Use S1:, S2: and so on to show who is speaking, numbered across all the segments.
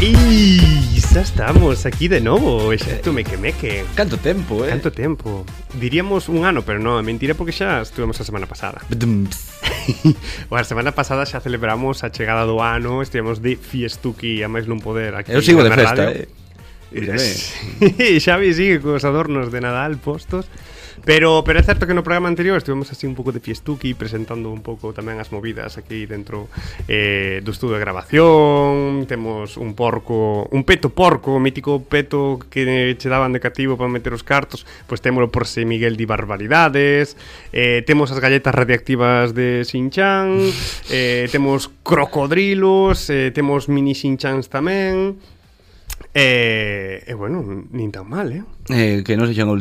S1: Y xa estamos aquí de novo, excepto me que me que.
S2: Canto tempo, eh?
S1: Tanto tempo. Diríamos un ano, pero non, é mentira porque xa estuvemos a semana pasada.
S2: Bdum, ps.
S1: O a semana pasada xa celebramos a chegada do ano, estivemos de fiestuki a máis non poder aquí.
S2: Eu sigo de
S1: na
S2: festa,
S1: radio.
S2: eh?
S1: E Xavi sigue cos adornos de Nadal postos Pero, pero é certo que no programa anterior estivemos así un pouco de fiestuki Presentando un pouco tamén as movidas aquí dentro eh, do estudo de grabación Temos un porco, un peto porco, o mítico peto que che daban de cativo para meter os cartos Pois témolo por se Miguel di barbaridades eh, Temos as galletas radiactivas de Sinchan eh, Temos crocodrilos, eh, temos mini Sinchans tamén E, e Eh, bueno, nin tan mal, eh?
S2: eh que non sexan o...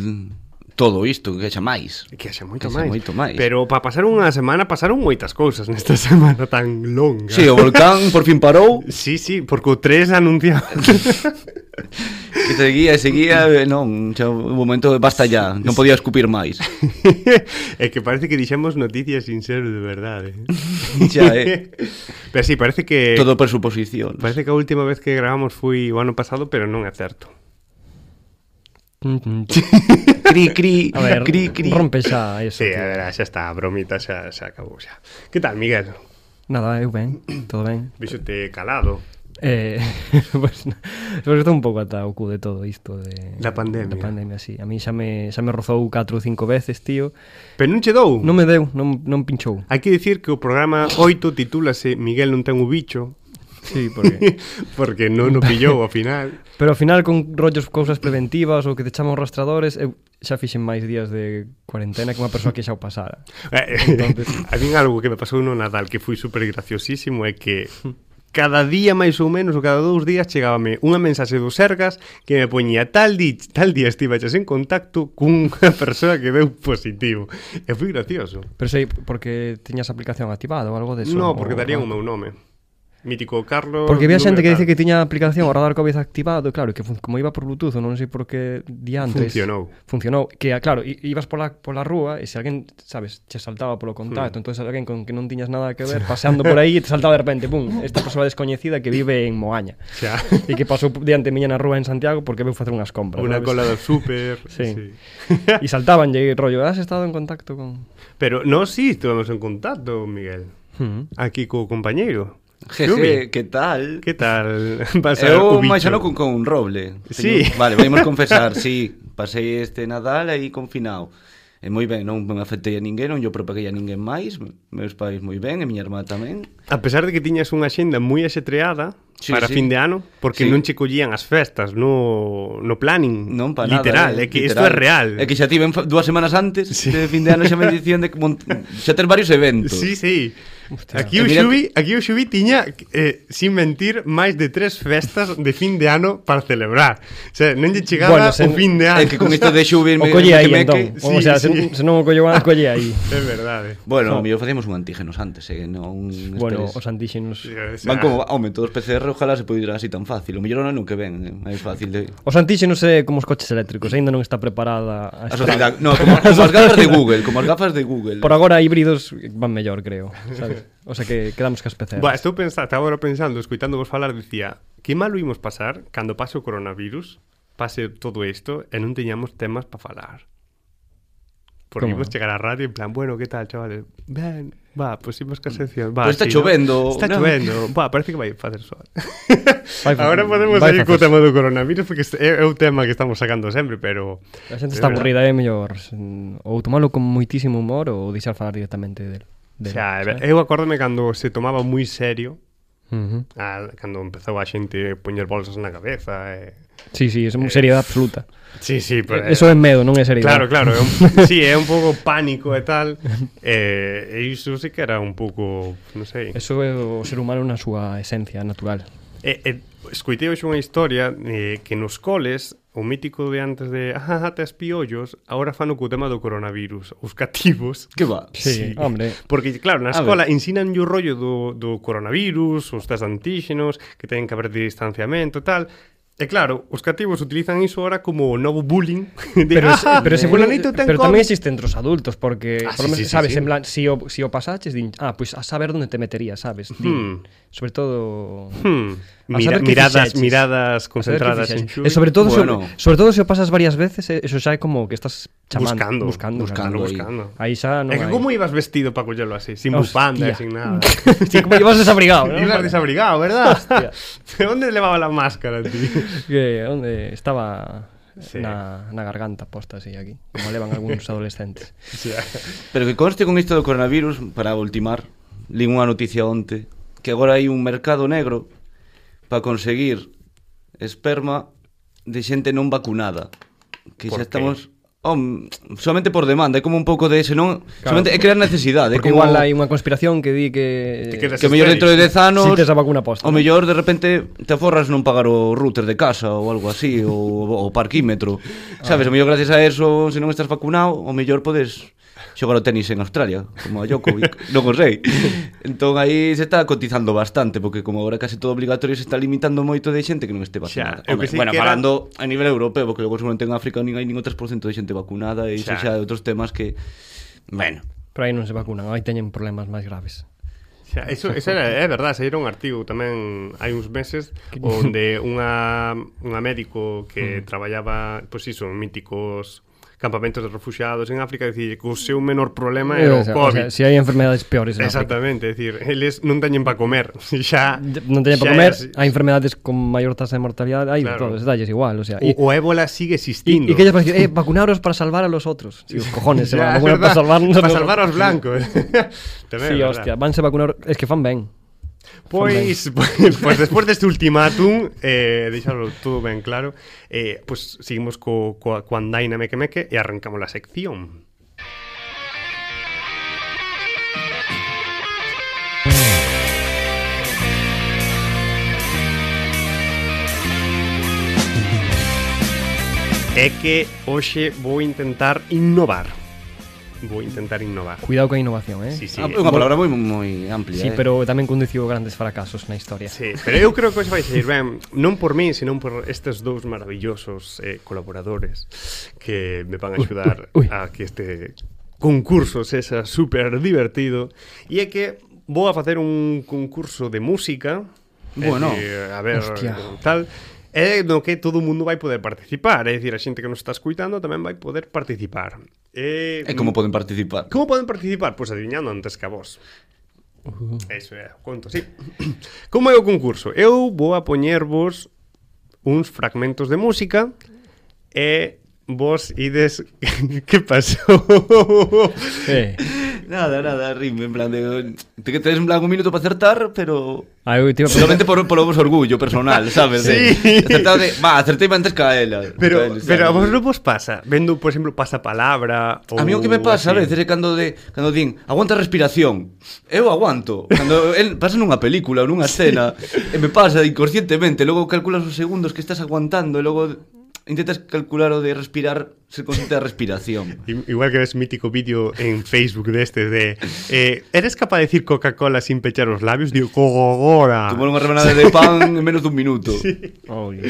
S2: todo isto, que xa máis.
S1: Que haxe moito
S2: Que haxe
S1: máis.
S2: moito máis.
S1: Pero para pasar unha semana pasaron moitas cousas nesta semana tan longa.
S2: Si, sí, o volcán por fin parou,
S1: Sí, sí, porque o 3 anunciaba
S2: que seguía e seguía, e non, xa un momento de basta ya, non podía escupir máis.
S1: É que parece que dixemos noticias sin ser de verdade
S2: Xa, eh,
S1: Pero sí, parece que
S2: todo por suposición.
S1: Parece que a última vez que gravamos foi o ano pasado Pero non é certo
S2: Cri, cri,
S3: A ver,
S2: cri, cri.
S3: rompe
S2: Ah,
S3: xa eso.
S1: Mm-hmm. Sí,
S3: tío.
S1: a ver, xa está, a bromita xa, xa acabou xa Que tal, Miguel?
S3: Nada, eu ben, todo ben.
S1: Víxote calado
S3: Eh, pues, pues estou un pouco ata o cu de todo isto de
S1: Da pandemia.
S3: Da pandemia, sí. A mí xa me xa me rozou 4 ou 5 veces, tío.
S1: Pero non che dou?
S3: Non me deu, non non pinchou.
S1: Hai que dicir que o programa 8 titúlase Miguel non ten o bicho
S3: Sí, porque
S1: Porque non o pillou ao final
S3: Pero ao final con rollos cousas preventivas ou que te chaman rastradores, eu xa fixen máis días de cuarentena que unha persoa que xa o pasara.
S1: Eh, A min algo que me pasou no Nadal que foi super graciosísimo é que cada día máis ou menos ou cada dous días chegábame unha mensaxe do Sergas que me poñía tal, di, tal día estivaches en contacto cunha persoa que deu positivo e foi gracioso
S3: Pero sei porque tiñas a aplicación activada ou algo deso.
S1: no, porque
S3: ou-
S1: darían o meu nome mítico Carlos
S3: Porque había
S1: número
S3: xente que dice
S1: tal.
S3: que tiña a aplicación o radar COVID activado, e claro, que fun- como iba por Bluetooth, ou non sei por que diantes.
S1: Funcionou.
S3: Funcionou, que ah, claro, i- ibas pola pola rúa e se alguén, sabes, che saltaba polo
S1: Hmm.
S3: contacto, entonces alguén con que non tiñas nada que ver paseando por aí e te saltaba de repente, pum, esta persoa descoñecida que vive en Moaña
S1: xa
S3: e que pasou diante miña na rúa en Santiago porque veu facer unhas compras.
S1: unha
S3: sabes?
S1: cola do super
S3: Sí.
S1: sí.
S3: E saltaban e rollo, has estado en contacto con
S1: pero no, si sí, estuvemos en contacto Miguel
S3: Hmm.
S1: aquí co compañeiro
S2: Jeje, que tal?
S1: que tal pasar o
S2: Eu
S1: bicho?
S2: máis ano con, con un roble.
S1: Sí.
S2: Señor- Vale, vamos confesar, sí. Pasei este Nadal aí confinado. E moi ben, non me afectei a ninguén, non yo propaguei a ninguén máis. Meus pais moi ben, e miña irmá tamén.
S1: A pesar de que tiñas unha xenda moi asetreada
S2: Sí,
S1: para
S2: sí.
S1: fin de ano, porque
S2: Sí.
S1: non che collían as festas no, no planning
S2: Non pa nada.
S1: literal,
S2: eh,
S1: é que isto
S2: literal.
S1: é real.
S2: É que xa tiven fa- dúas semanas antes sí. de fin de ano xa me dicían de que mont... xa ter varios eventos.
S1: Sí, sí. Aquí
S2: E
S1: o
S2: mira
S1: Xubi, aquí o Xubi tiña, eh, sin mentir, máis de tres festas de fin de ano para celebrar. O sea, non lle chegaba
S3: Bueno,
S1: o
S3: sen-
S1: fin de ano.
S2: É que con isto de xubir
S3: O
S2: me,
S3: colle
S2: me
S3: aí,
S2: que me
S3: entón.
S2: que-
S3: O sea,
S1: Sí,
S3: se,
S1: sí.
S3: se non o collo antes, colle aí.
S1: É verdade.
S2: Bueno, no. mellor facemos un antígenos antes, eh, non
S3: Bueno,
S2: esperes.
S3: os antíxenos...
S1: O sea,
S2: Van como, home, todos PCR, ojalá se poidera así tan fácil. O mellor non é o que ven, é máis fácil de...
S3: Os antíxenos é como os coches eléctricos, aínda non está preparada
S2: A
S3: a esta...
S2: sociedade, no, como, como as gafas de Google, como as gafas de Google.
S3: Por agora híbridos van mellor, creo, sabes? O sea que quedamos que as PCR.
S1: Ba, estou pensando, estaba agora pensando, escuitando vos falar, dicía, que malo imos pasar cando pase o coronavirus, pase todo isto e non teñamos temas para falar. Porque
S3: Como?
S1: imos chegar á radio en plan, bueno, que tal, chavales? Ben, va, pois pues imos ca sección. Va,
S2: Pois está
S1: si Non?
S2: chovendo,
S1: Está
S2: non?
S1: chovendo. Va, parece que vai facer sol.
S3: Vai facer-
S1: Agora podemos
S3: vai
S1: sair co
S3: facer
S1: tema do coronavirus porque este é é o tema que estamos sacando sempre, pero...
S3: A xente está aburrida, é mellor mm, ou tomalo con moitísimo humor ou deixar falar directamente del.
S1: O
S3: del
S1: sea, eu acórdome cando se tomaba moi serio,
S3: Uh -huh.
S1: a, cando empezou a xente poñer bolsas na cabeza e...
S3: Sí, sí, é unha seriedade absoluta.
S1: Sí, sí, pero...
S3: Eso é medo, non é
S1: eh,
S3: seriedade.
S1: Claro, claro, é un, sí, é un pouco pánico e tal eh, E iso sí que era un pouco, non sei
S3: Eso é o ser humano na súa esencia natural.
S1: E, e, escuitei Eh, hoxe unha historia eh, que nos coles o mítico de antes de ah, tes piollos, agora fano co tema do coronavirus, os cativos.
S2: Que va?
S3: Sí, hombre.
S1: Porque, claro, na
S2: A
S1: escola ensinan o rollo do, do coronavirus, os test de antíxenos, que ten que haber distanciamento e tal. E claro, os cativos utilizan iso ahora como o novo bullying. De,
S3: Pero, es-
S1: "Ah,
S3: pero, se puede-
S1: fulanito ten
S3: pero tamén
S1: COVID".
S3: existen entre os adultos porque
S1: Ah,
S3: por lo
S1: sí,
S3: menos,
S1: sí, sí,
S3: sabes,
S1: sí.
S3: en plan, si o, si o pasaches din, ah, pois pues a saber onde te meterías, sabes, din.
S1: Hmm.
S3: Sobre todo
S1: Hmm.
S3: A
S1: Mira-
S3: saber que
S1: miradas,
S3: fixeches.
S1: miradas
S3: a saber que
S1: concentradas en
S3: fixeches.
S1: Xui.
S3: E Eh, sobre todo,
S2: Bueno.
S3: sobre, sobre todo se o pasas varias veces, eh, eso xa é como que estás chamando,
S1: buscando,
S3: buscando,
S1: buscando,
S2: claro.
S1: buscando.
S3: Aí xa non
S1: É que
S3: hai.
S1: como ibas vestido para collelo así, sin
S3: Hostia.
S1: bufanda, sin nada.
S3: Sí, como llevas desabrigado, ¿no?
S1: ibas desabrigado, ¿verdad? ¿De dónde levaba la máscara, tío?
S3: Que onde estaba
S1: Sí.
S3: na, na garganta posta así aquí, como levan algúns adolescentes.
S1: O sea,
S2: Pero que conste con isto do coronavirus, para ultimar, lin unha noticia onte, que agora hai un mercado negro para conseguir esperma de xente non vacunada. Que
S1: Por qué?
S2: xa estamos... Hom, somente por demanda, é como un pouco de ese, non?
S3: Claro.
S2: Claro. Somente é crear necesidade. é
S3: Porque
S2: como...
S3: igual hai unha conspiración que di que...
S1: Te quedas-
S2: Que o mellor dentro de 10 anos
S3: Si tes a vacuna posta,
S2: O
S3: ¿no?
S2: mellor de repente te forras non pagar o router de casa ou algo así ou o parquímetro. Sabes, o mellor gracias a eso, se non estás vacunado, o mellor podes xogar o tenis en Australia, como a Djokovic, non o sei. Entón aí se está cotizando bastante porque como agora case todo obligatorio se está limitando moito de xente que non este
S1: Xa,
S2: vacunada.
S1: eu que
S2: Hombre,
S1: sí
S2: bueno,
S1: que era-
S2: falando a nivel europeo, porque logo seguramente en África nin hai ningún 3% de xente vacunada e iso
S1: Xa.
S2: xa de outros temas que bueno,
S3: Pero aí non se vacunan, aí teñen problemas máis graves.
S1: o sea, eso, eso era, é verdad, se un artigo tamén hai uns meses onde unha, unha médico
S3: Mm.
S1: que traballaba, pois pues iso, en míticos campamentos de refugiados en África, dicir que o seu menor problema era o
S3: o sea,
S1: COVID.
S3: o sea, si hai enfermedades peores en África.
S1: Exactamente, é dicir, eles non teñen para comer. Xa
S3: De- Non teñen para
S1: xa é
S3: comer,
S1: así.
S3: hai enfermedades con maior tasa de mortalidade, hai
S1: Claro.
S3: claro. todos, dalles igual, o sea,
S1: O, o ébola sigue
S3: Ah, Y,
S1: existindo.
S3: y que ellos van a decir, eh, vacunaros para salvar a los otros. Sí, cojones, se
S1: Ya, es
S3: van a vacunar para
S1: verdad.
S3: salvarnos.
S1: Para
S3: ¿no?
S1: salvar aos blancos. Tamén,
S3: Sí,
S1: é
S3: hostia,
S1: verdad.
S3: vanse vacunar. Es que fan ben.
S1: Pois, pois, pois despois deste ultimátum, eh, deixalo todo ben claro, eh, pois seguimos co, coa co andaina meque meque e arrancamos la sección. É que hoxe vou intentar innovar. Vou intentar innovar.
S3: Cuidado con a innovación, eh.
S1: Sí, sí.
S2: é unha palabra moi moi amplia.
S3: Sí,
S2: eh.
S3: pero tamén conduciu grandes fracasos na historia.
S1: Sí, pero eu creo que hoxe vai sair ben Non por mí, senón por estes dous maravillosos eh, colaboradores Que me van a axudar
S3: ui, ui.
S1: a que este concurso sexa super divertido E é que vou a facer un concurso de música é
S2: Bueno.
S1: dicir, a ver,
S3: Hostia.
S1: tal É no que todo o mundo vai poder participar É dicir, a xente que nos está escuitando tamén vai poder participar E,
S2: É como poden participar.
S1: Como poden participar? Pois adivinando antes que a vos. Eso é, o conto, sí. Como é o concurso? Eu vou a poñervos uns fragmentos de música e vos ides que pasou.
S3: Eh,
S2: Nada, nada, rime, en plan de... Te que tens en plan un minuto para acertar, pero...
S3: ah, eu te iba a preguntar-
S2: Solamente por, por o vosso orgullo personal, sabes?
S1: Sí.
S2: De, acertado de... Va, acertei antes que a ela.
S1: Pero,
S2: Que a ela,
S1: pero a
S2: sabes?
S1: vos non vos pasa? Vendo, por exemplo, pasapalabra ou
S2: A mí o que me pasa a
S1: así.
S2: veces é cando de cando din, aguanta a respiración. Eu aguanto. Cando el pasa nunha película ou nunha escena, e me pasa inconscientemente, logo calculas os segundos que estás aguantando e logo intentas calcular o de respirar, ser consciente da respiración.
S1: I- Igual que ves mítico vídeo en Facebook de este de eh, ¿Eres capaz de decir Coca-Cola sin pechar los labios? Digo, Coca-Cola.
S2: Tomar unha rebanada de pan en menos dun minuto.
S3: Oi.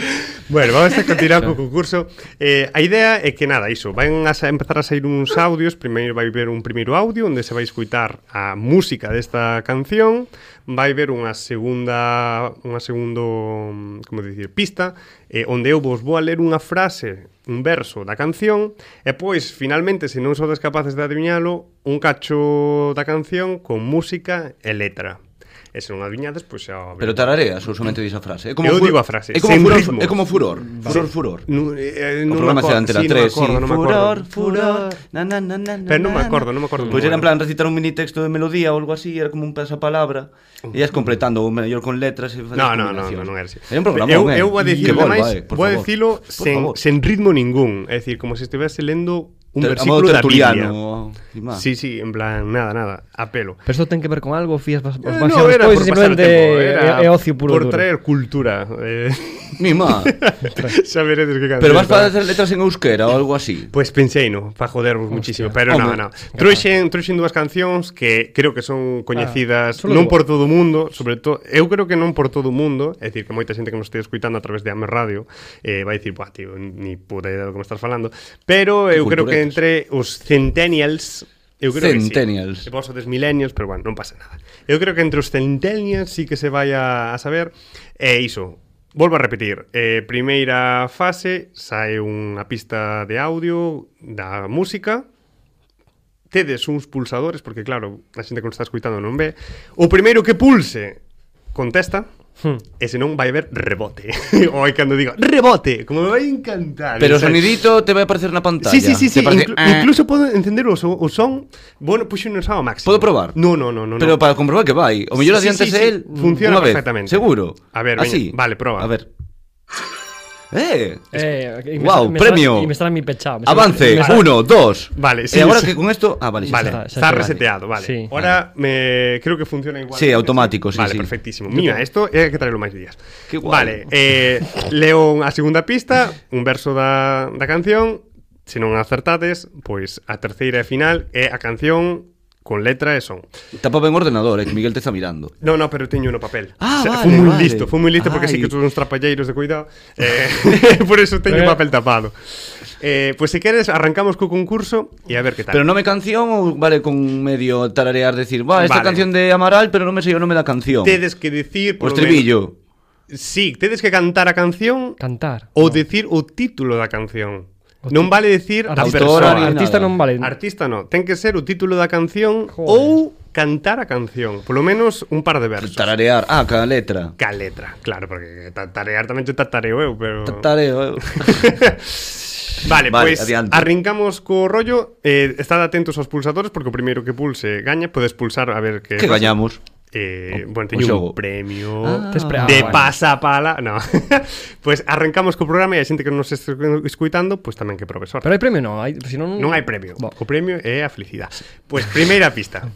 S1: Bueno, vamos a continuar co concurso eh, A idea é que nada, iso Van a sa- empezar a sair uns audios Primeiro vai ver un primeiro audio Onde se vai escutar a música desta canción Vai ver unha segunda Unha segundo mm, Como dicir, pista eh, Onde eu vos vou a ler unha frase Un verso da canción E pois, finalmente, se non sodes capaces de adivinhalo Un cacho da canción Con música e letra E se non adivinhades, pois xa...
S2: Pero tarareas ou somente dis a frase? É
S1: Eu
S2: fu-
S1: digo a frase,
S2: É como,
S1: sen
S2: furor,
S1: ritmo.
S2: é como furor. Furor, furor.
S1: No, eh, eh,
S2: O
S1: non
S2: programa
S1: me
S2: será
S1: acordo,
S2: entre a
S1: sí, non me
S2: tres,
S1: acordo,
S2: sí.
S1: non me
S2: Furor,
S1: acordo.
S2: furor, na, na, na, na,
S1: Pero non me
S2: na,
S1: acordo,
S2: na.
S1: non me acordo como
S2: Pois
S1: era.
S2: era en plan recitar un mini texto de melodía ou algo así, era como un pasapalabra. E ias completando, ou mellor con letras e
S1: No, no, no, no, non era así.
S2: Era un programa,
S1: eu,
S2: eh?
S1: eu vou
S2: Que
S1: dicirlo
S2: volva,
S1: máis,
S2: eh, por
S1: vou
S2: favor.
S1: dicilo
S2: Por
S1: sen,
S2: favor.
S1: sen ritmo ningún, é dicir, como se estivese lendo un
S2: Ter-
S1: versículo da Biblia.
S2: tertuliano. Ah. o-
S1: Sí, sí, en plan, nada, nada, a pelo.
S3: Pero isto ten que ver con algo, fías vas, vas
S1: Eh,
S3: baixar
S1: era por pasar
S3: despois e
S1: o
S3: simplemente
S1: tempo, era
S3: é, é ocio puro
S1: Por
S3: duro.
S1: traer cultura. eh,
S2: Mima.
S1: xa veredes que
S2: Pero vas para
S1: canción
S2: hacer letras en euskera ou algo así.
S1: Pois pensei no, para jodervos muchísimo, pero
S2: Home.
S1: non, non. Trouxen, trouxen dúas cancións que creo que son coñecidas
S3: Ah, solo
S1: non
S3: dúas.
S1: por todo o mundo, sobre todo, eu creo que non por todo o mundo, é dicir que moita xente que nos esteja escuitando a través de Ame Radio eh, vai dicir, "Buah, tío, ni puta idea do que me estás falando", pero eu creo que
S2: Culturetas.
S1: entre os centennials Eu creo que
S2: Centennials.
S1: sí. E vos sodes millennials, pero bueno, non pasa nada. Eu creo que entre os centennials sí que se vai a, a saber. E iso, volvo a repetir. Eh, primeira fase, sae unha pista de audio da música, tedes uns pulsadores, porque claro, a xente que nos está escuitando non ve, o primeiro que pulse contesta,
S3: Hmm.
S1: e senón vai haber rebote. o hai cando digo, rebote, como me vai encantar.
S2: Pero o
S1: sabes?
S2: sonidito te vai aparecer na pantalla.
S1: Sí, sí, sí, sí.
S2: Te parece,
S1: inclu-
S2: "Ah".
S1: incluso podo encender o, so- o son. Bueno, puxo non ao máximo.
S2: Podo probar?
S1: No, no, no, no.
S2: Pero
S1: no.
S2: para comprobar que vai. O mellor
S1: Sí, sí,
S2: adiantes
S1: sí, sí.
S2: el
S1: Funciona
S2: unha mm, vez,
S1: perfectamente.
S2: Seguro.
S1: A ver, veña,
S2: así.
S1: vale, proba.
S2: A ver. Eh,
S3: Eh,
S2: Guau, premio.
S3: E me está en mi pechado.
S2: avance,
S3: Me está,
S2: uno, dos.
S1: Vale, sí,
S2: E agora
S1: sí.
S2: que con esto, ah, vale, xa
S1: Vale,
S2: está.
S1: está,
S3: está, ya está,
S1: reseteado, vale.
S3: vale. Sí.
S1: Ahora me, creo que funciona igual.
S2: Sí, automático, sí,
S1: Vale,
S2: sí.
S1: perfectísimo. Mira, esto é que traelo máis días.
S2: Que guai.
S1: Vale, eh, leo a segunda pista, un verso da, da canción, se non acertades, pois a terceira e final é a canción con letra e son.
S2: Tapa ben o ordenador, eh, que Miguel te está mirando.
S1: No, no, pero teño no papel.
S2: Ah, vale,
S1: fui moi
S2: vale.
S1: listo, fui moi listo porque
S2: Ai.
S1: sí que tuve uns trapalleiros de cuidado. Eh, por eso teño
S3: Eh.
S1: papel tapado. Eh, pues se queres arrancamos co concurso e a ver que tal.
S2: Pero nome canción ou vale con medio tararear decir, va, esta
S1: Vale.
S2: canción de Amaral, pero non me sei o nome da canción.
S1: tedes que decir
S2: o
S1: polo
S2: estribillo.
S1: menos- Sí, tedes que cantar a canción
S3: Cantar.
S1: ou decir o título da canción.
S3: O
S1: non
S3: ti-
S1: vale decir a
S2: Artista.
S1: persoa.
S2: Autora,
S3: Artista
S2: nada.
S3: non vale.
S1: Artista no, ten que ser o título da canción
S3: Joder.
S1: ou cantar a canción, polo menos un par de versos.
S2: Tararear, ah, cada letra.
S1: Ca letra, claro, porque tatarear tamén te tatareo eu, pero
S2: Tarareo.
S1: Vale,
S2: Vale,
S1: pois
S2: adiante.
S1: arrancamos co rollo eh, Estad atentos aos pulsadores Porque o primeiro que pulse gaña Podes pulsar a ver que,
S2: que
S1: pasa.
S2: gañamos.
S1: eh,
S2: O-
S1: Bueno,
S2: o
S1: teño
S2: xogo.
S1: un premio
S2: Ah,
S3: Tes pre- ah,
S1: De
S3: vale.
S1: pasapala no. Pois arrancamos co programa E a xente que nos este escuitando Pois tamén que profesor
S3: Pero hai premio non, hai, si non
S1: Non hai premio
S3: Bo.
S1: O premio é a felicidade Pois primeira pista
S2: Non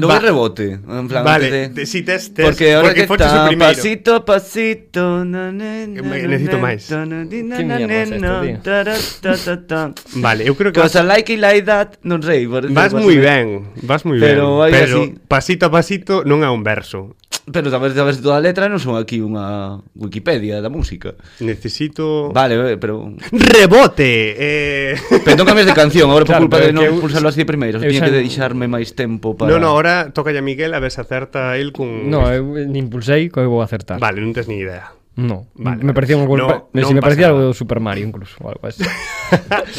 S1: Va-
S2: hai rebote, en plan
S1: Vale,
S2: antes de...
S1: te, si tes, tes
S2: Porque ahora que
S1: foches o
S2: está
S1: primeiro.
S2: pasito a pasito na, na,
S1: Que
S2: na,
S1: me-
S2: na,
S1: necesito
S2: na,
S1: máis.
S2: na, na, na,
S3: Que
S2: na,
S3: mierda
S2: na,
S3: es esto,
S2: na,
S3: tío?
S2: tara, ta, ta, ta.
S1: Vale, eu creo que vas,
S2: Cosa like y like that, non sei parece
S1: vas
S2: algo
S1: moi
S2: así.
S1: ben Vas moi
S2: Pero
S1: ben
S2: algo
S1: Pero
S2: así.
S1: pasito a pasito non é un verso
S2: Pero sabes, sabes toda a letra non son aquí unha Wikipedia da música
S1: Necesito...
S2: Vale, eh, pero
S1: Rebote. Eh...
S2: Pero non cambias de canción, agora
S3: Claro,
S2: por culpa
S3: pero
S2: de
S3: é
S2: non
S3: que eu-
S2: pulsarlo así primeiro
S3: eu
S2: Tiña
S3: xa
S2: que
S3: non-
S2: deixarme máis tempo para...
S1: No, no, ahora toca a Miguel a ver se acerta el con
S3: No, eu nin pulsei que eu vou acertar.
S1: Vale, non tes ni idea.
S3: No,
S1: Vale, vale.
S3: me parecía un gol,
S1: No,
S3: me,
S1: non
S3: si me
S1: pasa
S3: parecía
S1: nada.
S3: algo do Super Mario incluso, ou algo así.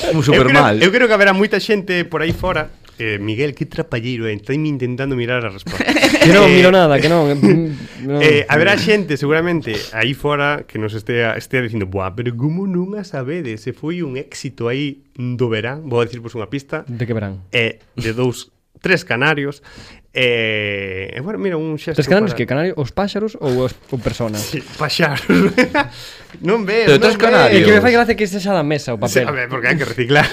S2: Un
S1: eu
S2: super
S1: creo,
S2: mal
S1: Eu creo que haberá moita xente por aí fora. Eh, Miguel, que trapalleiro, eh? Estáime intentando mirar a resposta.
S3: que non
S1: Eh,
S3: miro nada, que non. mm, non.
S1: Eh, haberá xente seguramente aí fora que nos estea estea dicindo, "Buah, pero como non a sabedes? Se foi un éxito aí do verán." Vou dicirvos unha pista.
S3: De que verán.
S1: Eh, de dous tres canarios. Eh, e, bueno, mira, un xesto
S3: Tres canarios
S1: para-
S3: que canarios, os páxaros ou os ou personas.
S1: Sí, paxar. non veo,
S2: Pero
S1: non
S2: tres
S1: veo.
S2: canarios.
S3: É Eh, que me fai gracia que sexa da mesa o
S1: Sí,
S3: papel.
S1: a ver, porque hai que reciclar.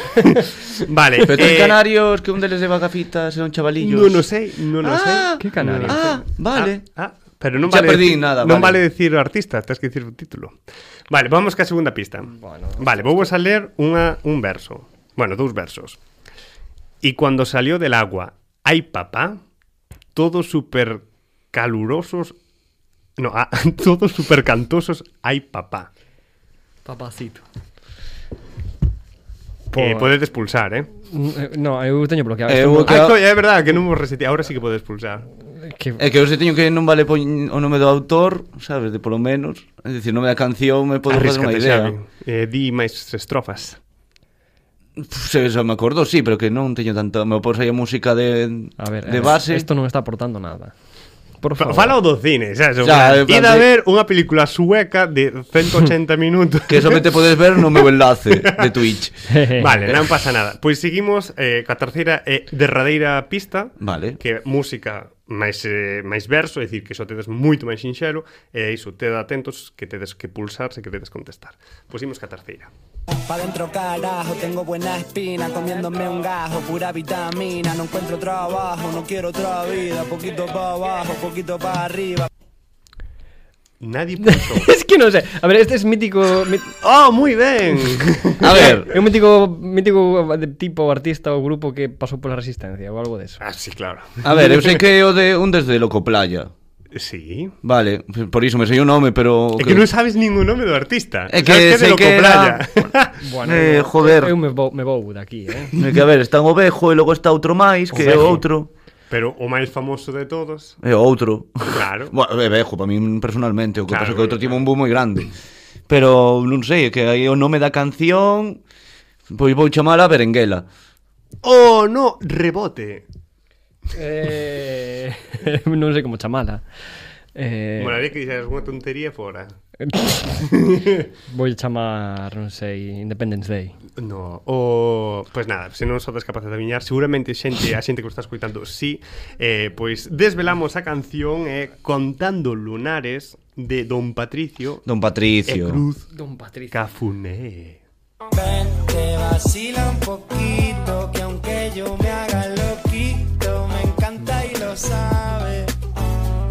S1: vale. eh,
S2: Pero tres canarios que un deles de vagafitas e un chavalillos
S1: Non o sei, non o
S2: Ah,
S1: sei.
S3: que canario.
S1: Non o sei.
S2: Ah, vale.
S1: Ah, ah, pero non
S2: Ya
S1: vale
S2: perdí
S1: decir,
S2: nada,
S1: non vale.
S2: vale.
S1: decir o artista, tens que dicir o título. Vale, vamos ca segunda pista.
S3: Bueno.
S1: vale, vou a ler unha un verso. Bueno, dous versos. Y cuando salió del agua, ay papá, todos súper calurosos, no, ah, todos súper cantosos, ay papá.
S3: Papacito.
S1: Eh, podedes pulsar, eh?
S3: Mm, No, eu teño bloqueado.
S2: Eu
S3: Isto
S2: o
S3: non-
S2: que-
S1: Ah, coi, é verdade que non vos reseteado, ahora sí que podes pulsar.
S3: que...
S2: É que eu se teño que non vale poñ o nome do autor, sabes, de polo menos, é dicir, nome da canción me podo facer unha
S1: Arríscate, Xavi.
S2: idea.
S1: Eh, di máis estrofas.
S2: Pff, Se, se me acordo, sí, pero que non teño tanta, me opos aí a música de
S3: A ver,
S2: de
S3: eh,
S2: base.
S3: Esto non está aportando nada. Por
S1: Fa-
S3: favor.
S1: Fala o do cine, sabes?
S2: Xa,
S1: Xa,
S2: en plan
S1: Ida a
S2: de-
S1: ver unha película sueca de 180 minutos.
S2: Que solamente podes ver no meu enlace de Twitch.
S1: Vale, non pasa nada. Pois seguimos eh, ca terceira e eh, derradeira pista,
S2: Vale.
S1: que é música máis eh, máis verso, é dicir, que só tedes moito máis sinxelo, e é iso, ted atentos que tedes que pulsar se queredes contestar. Pois imos ca terceira.
S4: Pa dentro carajo, tengo buena espina, comiéndome un gajo, pura vitamina, no encuentro trabajo, no quiero otra vida, poquito para abajo, poquito para arriba.
S1: Nadie pulsou.
S3: es que non sei. A ver, este es mítico... mi-
S1: ¡Oh, moi ben!
S2: A ver,
S3: É un mítico, mítico de tipo artista ou grupo que pasou pola resistencia ou algo deso.
S1: ah, sí, claro.
S2: a ver, eu sei que é o de un desde Loco Playa.
S1: Sí.
S2: Vale, por iso me sei o nome, pero
S1: É que non sabes ningún nome do artista. sabes
S2: É que
S1: é de
S2: sei
S1: Loco
S2: que era-
S1: Playa.
S3: Bueno,
S2: Eh,
S3: eu-
S2: joder.
S3: Eu me vou, me vou daqui, eh.
S2: É que a ver, está un ovejo e logo está outro máis, que é
S1: Ovejo.
S2: outro.
S1: Pero o máis famoso de todos,
S2: É outro.
S1: claro.
S2: Bueno, é vejo, para min personalmente, o que
S1: Claro,
S2: pasa é que outro
S1: claro.
S2: tivo un boom moi grande. Pero non sei, é que aí o nome da canción pois vou chamala Berenguela.
S1: Oh, no, rebote.
S3: eh non sei como chamala. Eh,
S1: Moraría que dixeras unha tontería fora.
S3: vou chamar, non sei, Independence Day.
S1: No, o... Pois nada, se non sodes capaces de adivinhar Seguramente xente, a xente que o está escoitando Sí, eh, pois desvelamos a canción eh, Contando lunares De Don Patricio E
S2: Don Patricio.
S1: Cruz
S3: Don Patricio.
S1: Cafuné
S4: Ven, te vacila un poquito, que aunque yo me haga loquito, me encanta y lo sabe.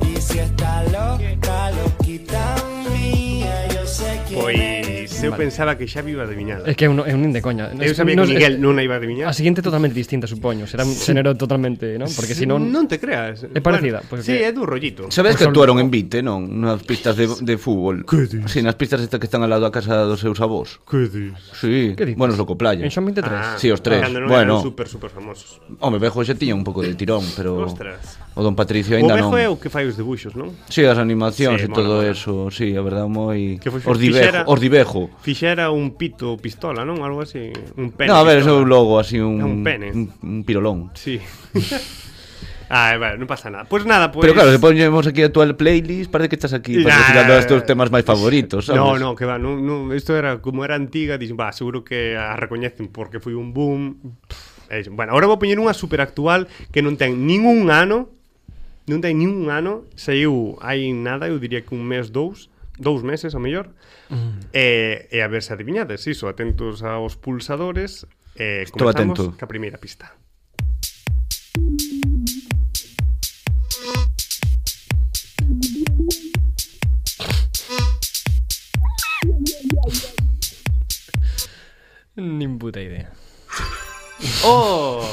S4: Y si está loca, loquita mía, yo sé quién
S1: Pues Pois
S4: eres.
S1: eu
S2: Vale.
S1: pensaba que xa viva adivinada
S3: É que eu, non- eu nin de coña.
S1: Eu sabía que Miguel non a iba a adivinar
S3: A seguinte é Ah, totalmente distinta, supoño. Será un xénero totalmente, non? Porque si non...
S1: Non te creas
S3: É parecida,
S1: bueno,
S3: pois
S1: Sí, é
S3: que-
S1: do rollito
S2: Sabes que
S3: Pues
S2: actuaron en Vite, non? Nas pistas de, de fútbol.
S1: Que dis?
S2: Sí, nas pistas estas que están al lado da casa dos seus avós.
S1: Que dis
S2: Sí,
S3: Que dices?
S2: bueno, es loco playa.
S3: En Xon 23.
S2: Sí, os tres.
S1: Cando non Ah,
S2: Bueno.
S1: eran super, super famosos
S2: Home, Vejo xa tiña un pouco de tirón, pero
S1: Ostras.
S2: o Don Patricio
S1: O
S2: aínda non.
S1: Bejo é o que fai os debuxos, non?
S2: Sí, as animacións
S1: Sí,
S2: e
S1: mola,
S2: todo
S1: mola.
S2: eso, sí, a verdade moi
S1: Que foi-
S2: os di
S1: fixera-
S2: Vejo, os di Vejo.
S1: Fixera un pito pistola, non? Algo así Un pene
S2: No, a ver,
S1: pistola.
S2: eso é un logo así un
S1: É un pene.
S2: un, un pirolón.
S1: Sí. ah, vale, no pasa nada. Pues nada, pues.
S2: Pero claro, se ponemos aquí a tua playlist, parece que estás aquí
S1: Nah.
S2: patrocinando estos temas máis favoritos, sabes?
S1: No, no, que va, no, no, esto era como era antiga, dixen, va, seguro que a recoñecen porque foi un boom. E dixen, bueno, agora vou poñer unha super actual que non ten ningún ano, non ten ningún ano, saiu hai nada, eu diría que un mes, dous, dous meses, ao mellor.
S2: Mm.
S1: E, e a ver se adivinades, iso, atentos aos pulsadores. E
S2: Estou
S1: comezamos
S2: atento.
S1: ca primeira pista.
S3: Nin puta idea.
S1: Oh!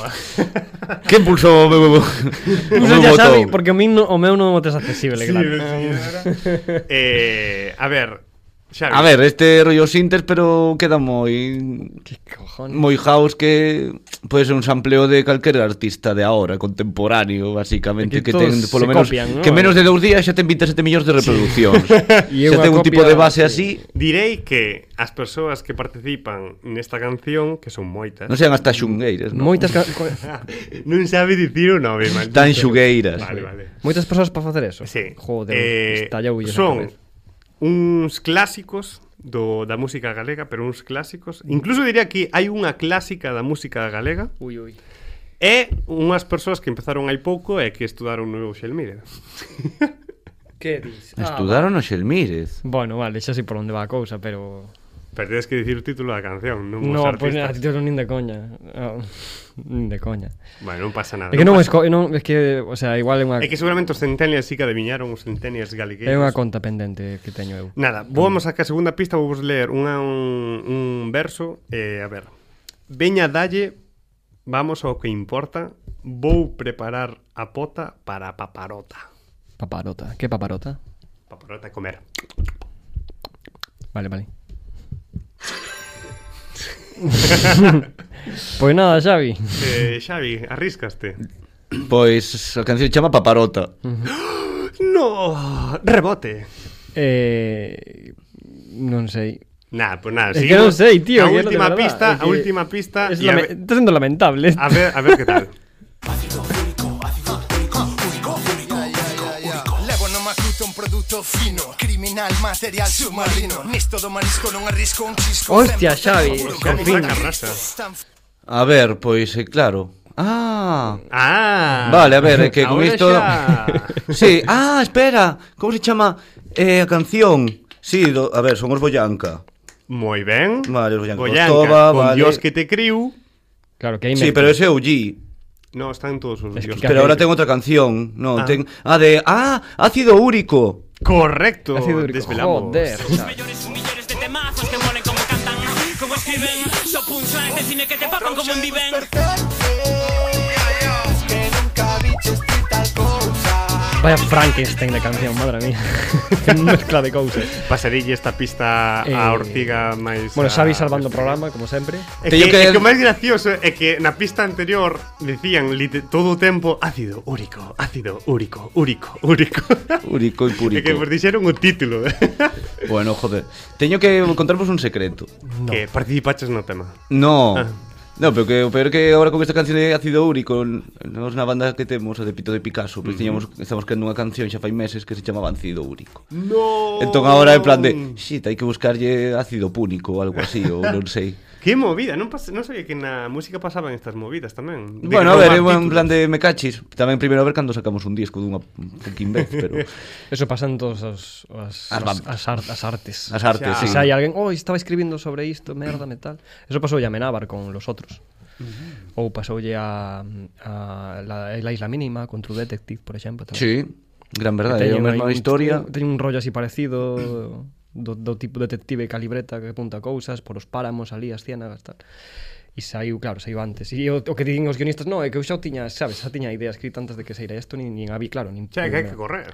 S2: Quen pulsou o meu o
S3: Uso
S2: meu
S3: ya sabe,
S2: botón?
S3: porque o, min no, o meu non o tes accesible,
S1: Sí,
S3: claro.
S1: señora. eh, a ver, Xavi.
S2: A ver, este rollo sintes, pero queda moi
S3: Que cojones.
S2: moi house que pode ser un sampleo de calquer artista de ahora, contemporáneo, basicamente, que,
S3: Que todos
S2: ten polo
S3: se
S2: menos
S3: copian, ¿no?
S2: que menos de dous días xa ten 27 millóns de reproduccións. xa
S3: E unha
S2: ten un
S3: copia,
S2: tipo de base
S3: sí.
S2: así,
S1: Direi que as persoas que participan nesta canción, que son moitas,
S2: non sean hasta xungueiras, non?
S3: Moitas, ca- co-
S1: non sabe dicir o nome, maldito.
S2: Tan xugueiras.
S1: Vale, vale.
S3: moitas persoas para facer eso.
S1: Sí.
S3: Joder,
S1: Eh,
S3: estallou esa
S1: son
S3: cabeza.
S1: uns clásicos do, da música galega, pero uns clásicos. Incluso diría que hai unha clásica da música galega
S3: Ui, ui.
S1: e unhas persoas que empezaron hai pouco e que estudaron no Xelmírez.
S3: Que dis? Ah,
S2: Estudaron o Xelmírez.
S3: Bueno, vale, xa sei por onde va a cousa, pero...
S1: Pero tedes que dicir o título da canción, non os
S3: No, pois pues,
S1: artistas.
S3: non nin de coña. Ah, nin de coña.
S1: Bueno, Ah, non pasa nada.
S3: É que non,
S1: pasa
S3: esco, non, é que, o sea, igual é unha
S1: É que seguramente os centenias sí que adiviñaron os centenias galegueiros.
S3: é unha conta pendente que teño eu.
S1: Nada, vamos a que a segunda pista vou vos ler unha, un, un verso eh, A ver Veña dalle Vamos ao que importa Vou preparar a pota para a paparota
S3: Paparota. Que paparota?
S1: Paparota é comer
S3: Vale, vale. pois nada, Xavi.
S1: eh, Xavi, arriscaste
S2: Pois a canción se chama Paparota.
S1: No, rebote
S3: Eh, non sei.
S1: Nada, pues nada
S3: Es que
S1: seguimos.
S3: non sei,
S1: A
S3: tío. que é lo de
S1: última
S3: verdad,
S1: pista,
S3: é
S1: a
S3: que
S1: última pista
S3: Es
S1: e a,
S3: lame-
S1: ver,
S3: Está sendo lamentable.
S1: a ver, a ver que tal
S5: Levo non macuto un produto fino Criminal material submarino Nisto do marisco non arrisco un chisco
S3: Hostia, Xavi,
S1: Xavi
S3: Por fin.
S1: saca rasta
S2: A ver, pois eh, claro. Ah,
S1: Ah,
S2: Vale, a ver, é que con
S1: ahora
S2: isto-
S1: xa.
S2: Sí, ah, espera, como se chama eh, a canción? Sí, do, a ver, son os Boyanca.
S1: Moi ben.
S2: Vale, os Boyanca
S1: Boyanca,
S2: Costova,
S1: con
S2: vale.
S1: Dios que te criu.
S3: Claro, que aí
S2: Sí,
S3: meten.
S2: pero ese é OG.
S1: No, están todos os
S3: Es que
S1: Dios.
S3: ca-
S2: Pero ahora ten outra canción. No,
S1: Ah.
S2: ah. ten Ah, de ah, ácido úrico.
S1: Correcto,
S3: Ácido úrico.
S1: desvelamos.
S3: Joder, sabes.
S6: Millones y millones de temazos que molen como cantan, como escriben. Son punchlines de este cine que te papan como viven.
S5: Es que nunca vi tal cosa.
S3: Vaya Frankenstein de canción, madre mía. que mezcla de cousas.
S1: Pasarille esta pista
S3: Eh,
S1: a Ortiga máis
S3: Bueno,
S1: a-
S3: Xavi salvando o programa, como sempre.
S1: É que,
S2: Teño que-
S1: é que o máis gracioso é que na pista anterior dicían lite- todo o tempo ácido úrico, ácido úrico, úrico, úrico.
S2: Úrico e
S1: E
S2: púrico.
S1: que vos dixeron o título.
S2: Bueno, joder. Teño que contarvos un secreto.
S1: Que participaches no tema.
S2: No.
S1: Ah.
S2: No, pero que o peor que ahora con esta canción de ácido úrico Nos na banda que temos a de Pito de Picasso Pois tiñamos, estamos creando unha canción xa fai meses que se chamaba ácido úrico
S1: No.
S2: Entón agora en plan
S1: Oh.
S2: de Shit, hai que buscarlle ácido púnico ou algo así Ou non sei
S1: Que movida, non, pas, non sabía que na música pasaban estas movidas tamén. De
S2: Bueno, a ver, é
S1: robar
S2: un plan
S1: títulos.
S2: de me cachis Tamén primeiro a ver cando sacamos un disco dunha fucking vez Pero
S3: Eso pasa en todas as, as,
S2: As
S3: as,
S2: bandas.
S3: as, ar- as artes.
S2: as artes,
S1: Xa.
S2: sí
S3: Si hay alguén, oh, estaba escribindo sobre isto, merda, metal. Eso pasou a Amenábar con los outros. Ou pasoulle a, mm, a la, la Isla Mínima con True Detective, por exemplo. Tamén.
S2: Sí, gran verdade, Ah, é
S3: Teñen
S2: a
S3: aí
S2: mesma
S3: un-
S2: historia
S3: Teñen un rollo así parecido do, do tipo detective calibreta que apunta cousas por os páramos ali, as ciénagas, tal. E saiu, claro, saiu antes. E o, o que dicen os guionistas, no, é que eu xa o tiña, sabes, xa tiña ideas escrita antes de que saíra isto, nin, nin a vi, claro, nin...
S1: Xa, que hai que
S3: nin-
S1: correr.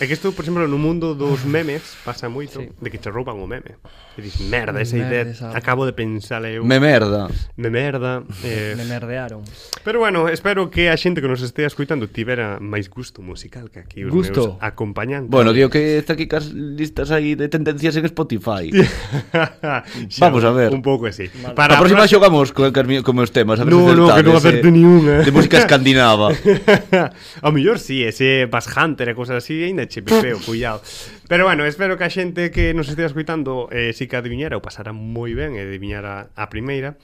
S1: É que isto, por exemplo, no mundo dos memes pasa moito sí. de que te rouban o meme. E dices, merda, esa
S3: Merda,
S1: idea
S3: esa-
S1: acabo de pensar
S3: eh.
S1: eu.
S2: Me merda
S1: me merda. Eh,
S3: Me merdearon.
S1: Pero bueno, espero que a xente que nos estea escuitando tivera máis gusto musical que aquí os
S3: Gusto.
S1: meus acompañantes.
S2: Bueno, digo que está aquí cas listas aí de tendencias en Spotify
S1: Xa,
S2: Vamos a ver.
S1: Un pouco así.
S2: Para a próxima
S1: pro-
S2: xogamos co, co, co meus temas a ver
S1: No,
S2: se
S1: no, que non
S2: acertades,
S1: acerte
S2: eh,
S1: ni unha.
S2: De música escandinava
S1: Ao mellor si, sí, ese Bass Hunter e cosas así Ainda che pepeo, cuidado Pero bueno, espero que a xente que nos estea escuitando eh, Si que adivinhara, o pasara moi ben E adivinhara a primeira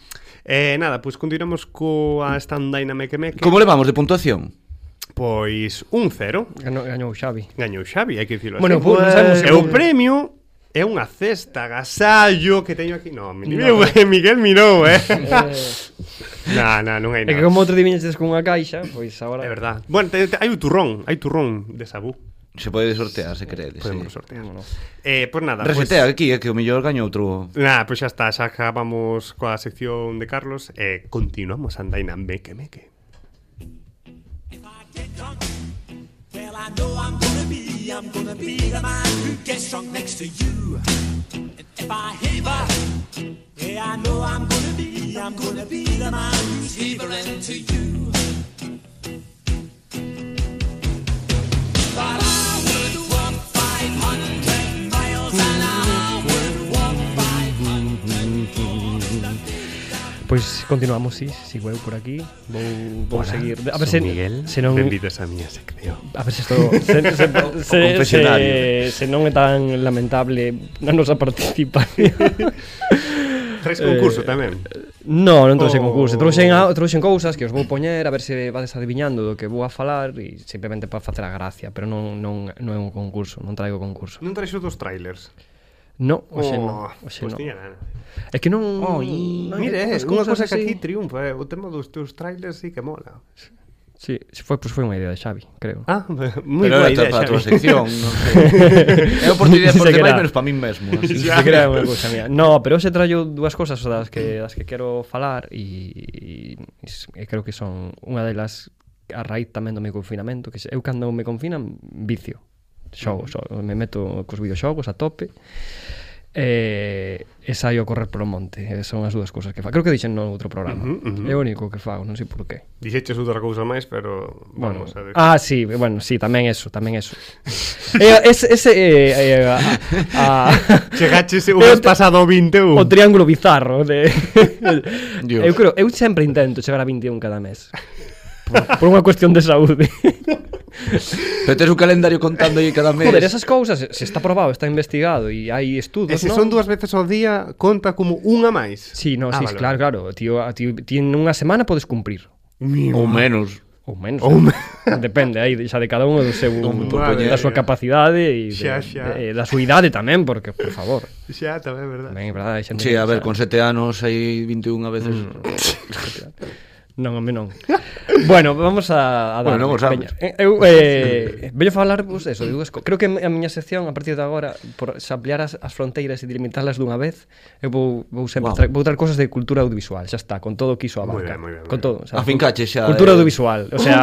S1: eh, Nada, pois continuamos coa Stand Dynamic Meque
S2: Como levamos de puntuación?
S1: Pois un cero
S3: Ganou, ganou Xavi.
S1: Gañou Xavi, hai que dicirlo
S3: Bueno,
S1: así
S3: pois, non sabemos se
S1: E o
S3: foi-
S1: premio é unha cesta gasallo que teño aquí. No, mi,
S3: No.
S1: Miguel mirou, eh. Na, na, non hai
S3: É que
S1: nada.
S3: como outro diviñetes con unha caixa, pois agora...
S1: É verdad. Bueno, te, te, hai o turrón, hai turrón de sabú.
S2: Se pode sortear, se
S1: Eh,
S2: credes
S1: Podemos
S2: sí.
S1: sortear. Eh, pois nada,
S2: Resetea aquí, é que o mellor gaño outro
S1: Pois, nah, pois xa está, xa acabamos coa sección de Carlos e eh, continuamos andaina meque meque.
S6: If I get drunk, well, I know I'm gonna be, I'm gonna be the man who gets drunk next to you. And if I haver, yeah, I know I'm gonna be, I'm gonna be the man who's havering to you. But I would walk 500 miles and I would walk 500
S3: Pois continuamos, si, sí, sigo eu por aquí. Vou, vou seguir. A ver se,
S1: Miguel,
S3: se non...
S1: benvidos a miña sección.
S3: A ver se isto se, se, se,
S2: confesionario.
S3: se, se non é tan lamentable na nosa participación.
S1: Tres concurso tamén.
S3: no, non trouxen
S1: Oh.
S3: concurso, trouxen, a- trouxen cousas que os vou poñer a ver se vades adivinhando do que vou a falar e simplemente para facer a gracia, pero non non non é un concurso, non traigo concurso.
S1: Non traes dos trailers.
S3: No, hoxe non,
S1: Pois
S3: hoxe non.
S1: tiña nada.
S3: É que non, non hai
S1: Mm, Mire, é
S3: tantas
S1: unha
S3: cousas
S1: cosa que
S3: así.
S1: aquí triunfa, eh? o tema dos teus trailers sí que mola.
S3: Sí, se foi, pois foi unha idea de Xavi, creo.
S1: Ah, moi
S2: Pero
S1: boa
S2: era
S1: idea,
S2: para a tua
S1: Xavi.
S2: sección non sei. É oportunidade por
S3: Se
S2: demais
S3: queda.
S2: menos para min mesmo así.
S1: Ya.
S3: Se crea unha cousa mía. No, pero hoxe traio dúas cousas das que das que quero falar e, e, s- e creo que son unha delas a raíz tamén do meu confinamento, que se- eu cando me confinan vicio. Xogos, xo- me meto cos videoxogos a tope. E, e saio a correr polo monte E Son as dúas cousas que fa Creo que dixen no outro programa
S1: Ujú, ujú.
S3: É o único que fago, non sei por qué
S1: Dixeches outra cousa máis, pero
S3: Bueno,
S1: vamos a ver.
S3: ah, sí, bueno, sí, tamén eso, tamén eso. eh, ese, ese eh, eh, a, a,
S1: Chegaches o
S3: Eu
S1: mes
S3: te-
S1: pasado uh. ao 21.
S3: O triángulo bizarro de...
S2: Dios.
S3: Uh. Eu creo, eu sempre intento chegar a 21 cada mes Por, por unha cuestión de saúde
S2: Pero tes un calendario contando aí cada mes
S3: Joder, esas cousas, se está probado, está investigado E
S1: E
S3: hai estudos,
S1: se
S3: non?
S1: son dúas veces ao día, conta como unha máis.
S3: Sí, no,
S1: Ah,
S3: sí,
S1: vale,
S3: claro, claro Tío, a- tío, ti en unha semana podes cumprir
S2: Ou menos.
S3: Ou menos.
S1: Ou
S3: eh? Depende aí xa de cada un do seu
S1: madre
S3: da súa
S1: mía.
S3: capacidade e de-
S1: Xa, xa.
S3: eh, da súa idade tamén, porque por favor.
S1: Xa, tamén é verdade.
S3: Tamén é verdade, hai xente
S2: Sí,
S3: que
S2: a ver,
S3: xa-
S2: con sete anos hai 21 a veces.
S3: Mm, Non, home, non. bueno, vamos a, a dar.
S2: Bueno, non o sabes.
S3: eu eh, veño falarvos eso, de dúas co- Creo que a miña sección a partir de agora por se ampliar as, as fronteiras e delimitarlas dunha vez, eu vou vou
S2: Guau.
S3: sempre tra vou traer cosas de cultura audiovisual, xa está, con todo o que iso
S1: Moi
S3: abarca.
S1: ben, moi ben, moi ben.
S3: con todo,
S2: A fincache xa,
S3: Cultura
S2: eh.
S3: audiovisual, o sea,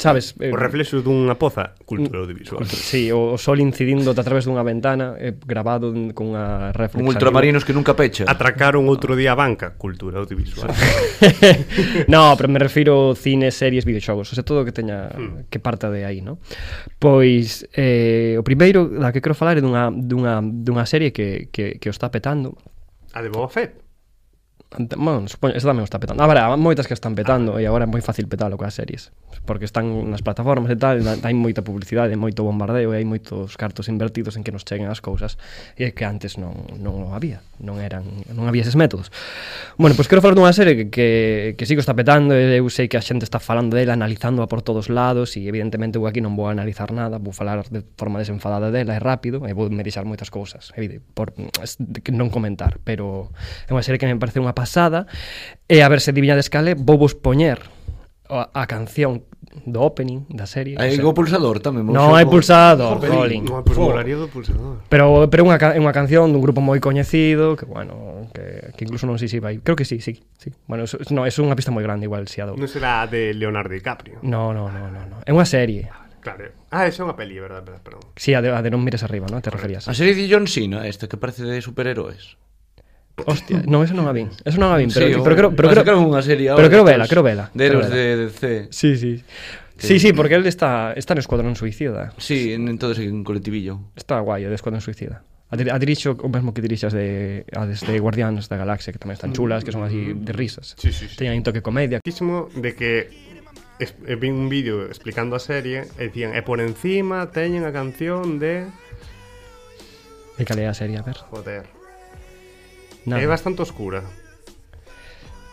S3: sabes,
S1: Os
S3: eh,
S1: reflexos dunha poza, cultura audiovisual.
S3: Sí, o, o sol incidindo a través dunha ventana eh, grabado n- con unha reflex.
S2: Un ultramarinos que nunca pecha.
S1: Atracaron outro día a banca, cultura audiovisual.
S3: no, pero me refiro cine, series, videoxogos, o sea, todo o que teña que parta de aí, ¿no? Pois eh, o primeiro da que quero falar é dunha dunha dunha serie que que que o está petando.
S1: A de Boba Fett.
S3: Ant- Bueno, supoño, esta tamén o está petando. Habrá moitas que o están petando e agora é moi fácil petalo coas series, porque están nas plataformas e tal, na- hai moita publicidade, moito bombardeo e hai moitos cartos invertidos en que nos cheguen as cousas e que antes non non o había, non eran non había eses métodos. Bueno, pois quero falar dunha serie que que, que sigo está petando e eu sei que a xente está falando dela, analizándoa por todos lados e evidentemente eu aquí non vou analizar nada, vou falar de forma desenfadada dela e rápido e vou me deixar moitas cousas, evide, por es- de que non comentar, pero é unha serie que me parece unha pasada e a ver se adivinades cale, vou vos poñer a, a canción do opening da serie.
S2: Hai o
S3: o
S2: pulsador tamén. vou
S3: sea, non
S2: xa
S3: hai
S2: po-
S3: pulsador, Colin.
S1: No, pues molaría do pulsador.
S3: Pero pero é unha, ca- é unha canción dun grupo moi coñecido que bueno, que, que incluso non sei se vai. Creo que sí, sí, sí. Bueno, eso, no, é unha pista moi grande igual si a do.
S1: Non será a de Leonardo DiCaprio.
S3: No, no, no, no, no. É unha serie.
S1: Claro. Ah, esa é unha peli, verdad, verdad, perdón.
S3: Si, sí, a de, a de non mires arriba, non? Te referías.
S2: A serie de John Cena, esta que parece de superhéroes.
S3: Hostia, non, eso non a vin. Eso non a vin, pero,
S2: Sí,
S3: pero,
S2: hombre,
S3: creo, pero,
S2: va a
S3: creo,
S2: sacar unha serie
S3: pero
S2: ahora
S3: creo
S2: de
S3: vela,
S2: estos-
S3: creo vela.
S2: De
S3: creo
S2: héroes
S3: vela.
S2: de DC.
S3: Sí, sí. Sí, sí, porque él está, está no Escuadrón Suicida.
S2: Sí, en entonces en colectivillo.
S3: Está guai, o de Escuadrón Suicida. A, dir, a dirixo o mesmo que dirixas de, a desde Guardianes da Galaxia, que tamén están chulas, que son así de risas.
S1: Sí, sí, sí.
S3: Teñen un toque comedia.
S1: Muchísimo de que es- eh, vi un vídeo explicando a serie e dicían, e por encima teñen a canción de...
S3: E calea a serie, a ver.
S1: Joder.
S3: Nada.
S1: É bastante oscura.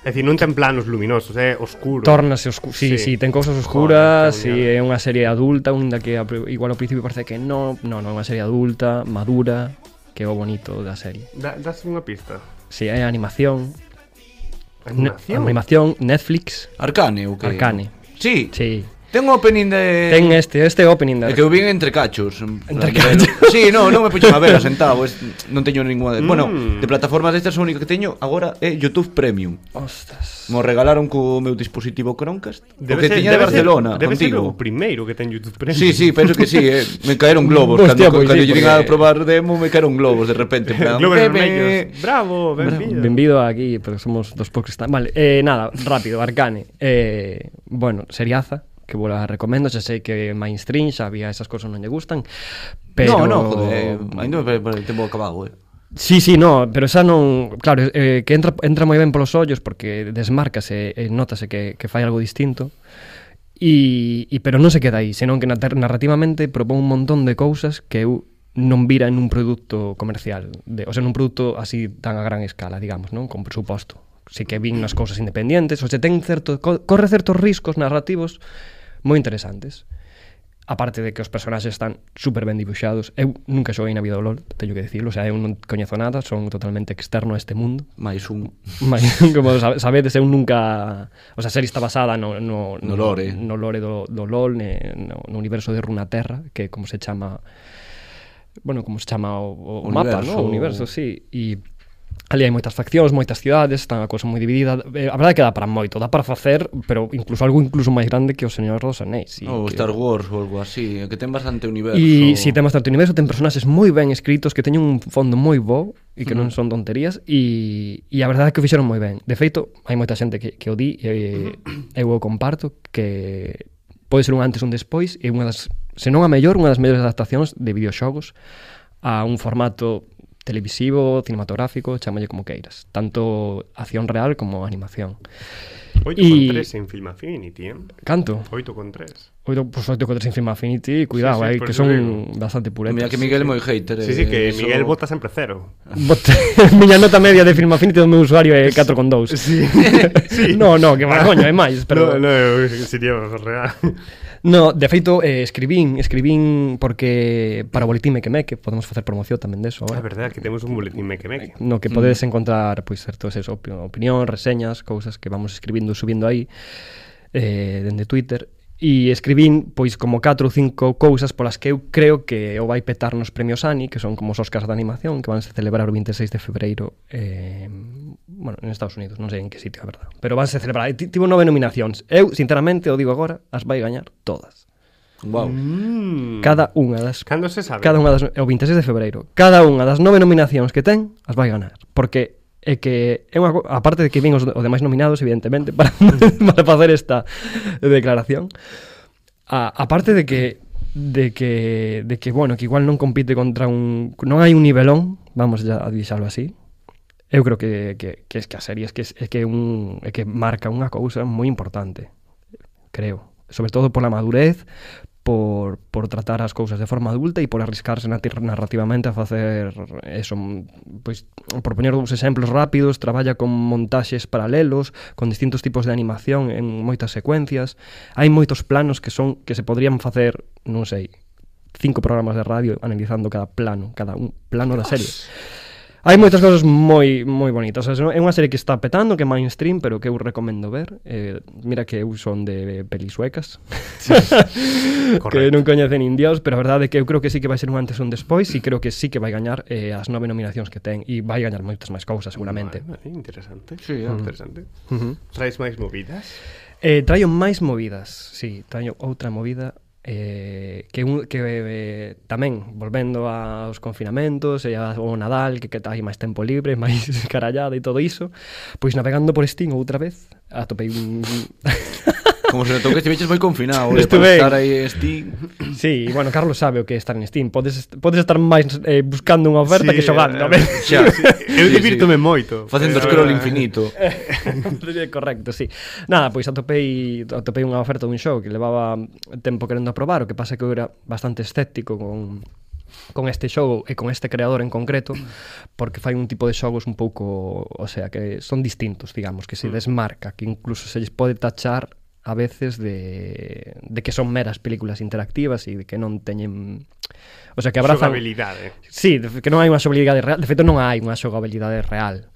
S1: É dicir, non ten planos luminosos, é oscuro.
S3: Tórnase oscuro. Sí,
S1: Sí.
S3: sí, ten cousas oscuras,
S1: Joder,
S3: si
S1: qué
S3: é unha serie adulta, un da que ao pri- igual ao principio parece que non, non, non, é unha serie adulta, madura, que é o bonito da serie.
S1: Da, das unha pista.
S3: Si é animación, ne-
S1: Animación.
S3: animación Netflix,
S2: Arcane o que?
S3: Arcane.
S2: Sí.
S3: Sí.
S2: Ten o opening
S1: Eh.
S2: de
S3: Ten este, este opening da
S2: É que eu vin entre cachos en plan,
S3: Entre
S2: de
S3: cachos.
S2: velo. Sí, no, non me puxen a ver sentado es, Non teño ninguna
S1: Mm.
S2: de... Bueno, de plataformas destas o único que teño agora é Youtube Premium
S3: Ostras.
S2: Mo regalaron co meu dispositivo Chromecast O
S1: Debe
S2: que
S1: ser-
S2: tiña de
S1: debe ser-
S2: Barcelona,
S1: Debe ser
S2: contigo
S1: o primeiro que ten YouTube Premium.
S2: Sí, sí, penso que sí, eh. me caeron globos
S3: Hostia,
S2: Cando,
S3: pois
S2: cando
S3: sí,
S2: lle vin
S3: porque-
S2: a probar demo me caeron globos de repente en plan,
S1: Globos
S2: eh,
S1: vermellos. Bravo, benvido.
S3: Benvido aquí, pero somos dos pocos que están. Vale, eh, nada, rápido, Arcane. Eh, bueno, seriaza, que vos la recomendo, xa sei que mainstream, xa había esas cosas non lle gustan, pero...
S2: No, no, joder, eh, ainda me parece que tempo acabado eh.
S3: Sí, sí, no, pero xa non, claro, eh, que entra entra moi ben polos ollos porque desmárcase e notase que que fai algo distinto. E, e pero non se queda aí, senón que nata- narrativamente propón un montón de cousas que eu non vira en un produto comercial, de, o sea, nun produto así tan a gran escala, digamos, non, con presuposto. Si que vin nas cousas independientes, o se ten certo co- corre certos riscos narrativos moi interesantes aparte de que os personaxes están super ben dibuixados eu nunca xoguei na vida do LOL, teño que dicirlo o sea, eu non coñezo nada, son totalmente externo a este mundo
S2: Mais un
S3: Mais, como sa- sabedes, eu nunca o sea, a serie está basada no, no,
S2: No lore.
S3: no lore do, do LOL ne, no, no universo de Runaterra que é como se chama bueno, como se chama o, o mapa,
S2: Universo.
S3: no? o universo, sí, e ali hai moitas faccións, moitas cidades, está a cousa moi dividida. Eh, A verdade é que dá para moito, dá para facer, pero incluso algo incluso máis grande que o Señor dos Anéis. e
S2: Ou
S3: que...
S2: Star Wars ou algo así Que ten bastante universo
S3: E si temas tanto universo, ten personaxes moi ben escritos que teñen un fondo moi bo e que non son tonterías e, e a verdade é que o fixeron moi ben. De feito, hai moita xente que, que o di e eu o comparto que pode ser un antes e un despois e unha das, se non a mellor, unha das mellores adaptacións de videoxogos a un formato televisivo, cinematográfico, chamalle como queiras, tanto acción real como animación.
S1: 8 con
S3: Y-
S1: 3 en Film Affinity, eh?
S3: Canto.
S1: 8 con 3.
S3: Oito, por suerte, que tres encima Affinity, cuidado,
S1: sí,
S3: eh,
S1: por
S3: que
S1: eso
S3: son bastante puretas.
S2: Mira que Miguel é moi hater.
S1: Sí, sí,
S2: eh,
S1: que
S2: eso-
S1: Miguel vota sempre cero.
S3: Bote, miña nota media de Film Affinity do meu usuario é 4,2.
S1: Sí, sí.
S3: No, no, que vergoña, é máis,
S1: Pero...
S3: pero
S1: No, no, eu sería o real.
S3: No, de feito, eh, escribín, escribín porque para o boletín Mequemeque podemos facer promoción tamén eh.
S1: É
S3: deso agora.
S1: verdade que temos un boletín meque-meque.
S3: No que podedes encontrar, pois, certos eso, opi- opinión, reseñas, cousas que vamos escribindo, subindo aí, eh, dende Twitter. E escribín, pois, como 4 ou 5 cousas polas que eu creo que o vai petar nos premios ANI, que son como os Oscars de animación, que vanse celebrar o 26 de febreiro, eh, bueno, en Estados Unidos, non sei en que sitio, a verdad. Pero vanse celebrar, E ti- tivo nove nominacións. Eu, sinceramente, o digo agora, as vai gañar todas.
S2: Wow.
S1: Mm.
S3: Cada unha das
S1: Cando se sabe?
S3: cada unha das é o 26 de febreiro. Cada unha das nove nominacións que ten as vai ganar, porque é que é unha co- aparte de que vin os, os demais nominados evidentemente para para facer esta declaración. A, aparte de que de que de que bueno, que igual non compite contra un non hai un nivelón, vamos ya a deixalo así. Eu creo que, que, que es que a serie es que, es, que, un, é que marca unha cousa moi importante creo. Sobre todo pola madurez, por, por tratar as cousas de forma adulta e por arriscarse nati- narrativamente a facer eso, mm, pois, por poñer dous exemplos rápidos, traballa con montaxes paralelos, con distintos tipos de animación en moitas secuencias. Hai moitos planos que son que se podrían facer, non sei, cinco programas de radio analizando cada plano, cada un plano da serie. Hai moitas cousas moi moi bonitas, o sea, é unha serie que está petando, que é mainstream, pero que eu recomendo ver. Eh, mira que eu son de pelis suecas, que
S1: Correcto.
S3: non coñecen nin Dios, pero a verdade é que eu creo que sí que vai ser un antes e un despois e creo que sí que vai gañar eh, as nove nominacións que ten e vai gañar moitas máis cousas seguramente.
S1: Vale, interesante.
S2: Sí, é.
S1: interesante.
S3: Uh -huh.
S1: Traes máis movidas?
S3: Eh, traio máis movidas, sí, traio outra movida eh, que, un, que eh, tamén volvendo aos confinamentos e ao Nadal, que, que hai máis tempo libre, máis carallada e todo iso, pois navegando por Steam outra vez, atopei un...
S2: Como se notou que estiveches moi confinado, eh, para
S3: Estuve.
S2: estar aí este
S3: sí, bueno, Carlos sabe o que é estar en Steam, podes, est- podes estar máis eh, buscando unha oferta
S1: Sí,
S3: que xogando,
S1: eh,
S3: a ver.
S2: xa.
S1: Eu divirtome moito.
S2: Facendo
S1: Pero, eh,
S2: scroll infinito.
S3: Correcto, sí. Nada, pois atopei atopei unha oferta dun show que levaba tempo querendo aprobar, o que pasa que eu era bastante escéptico con con este xogo e con este creador en concreto porque fai un tipo de xogos un pouco, o sea, que son distintos, digamos, que se desmarca, que incluso se lles pode tachar a veces de, de que son meras películas interactivas e de que non teñen o sea, que abrazan
S1: Xogabilidade.
S3: Sí, de- que non hai unha xogabilidade real. De feito, non hai unha xogabilidade real.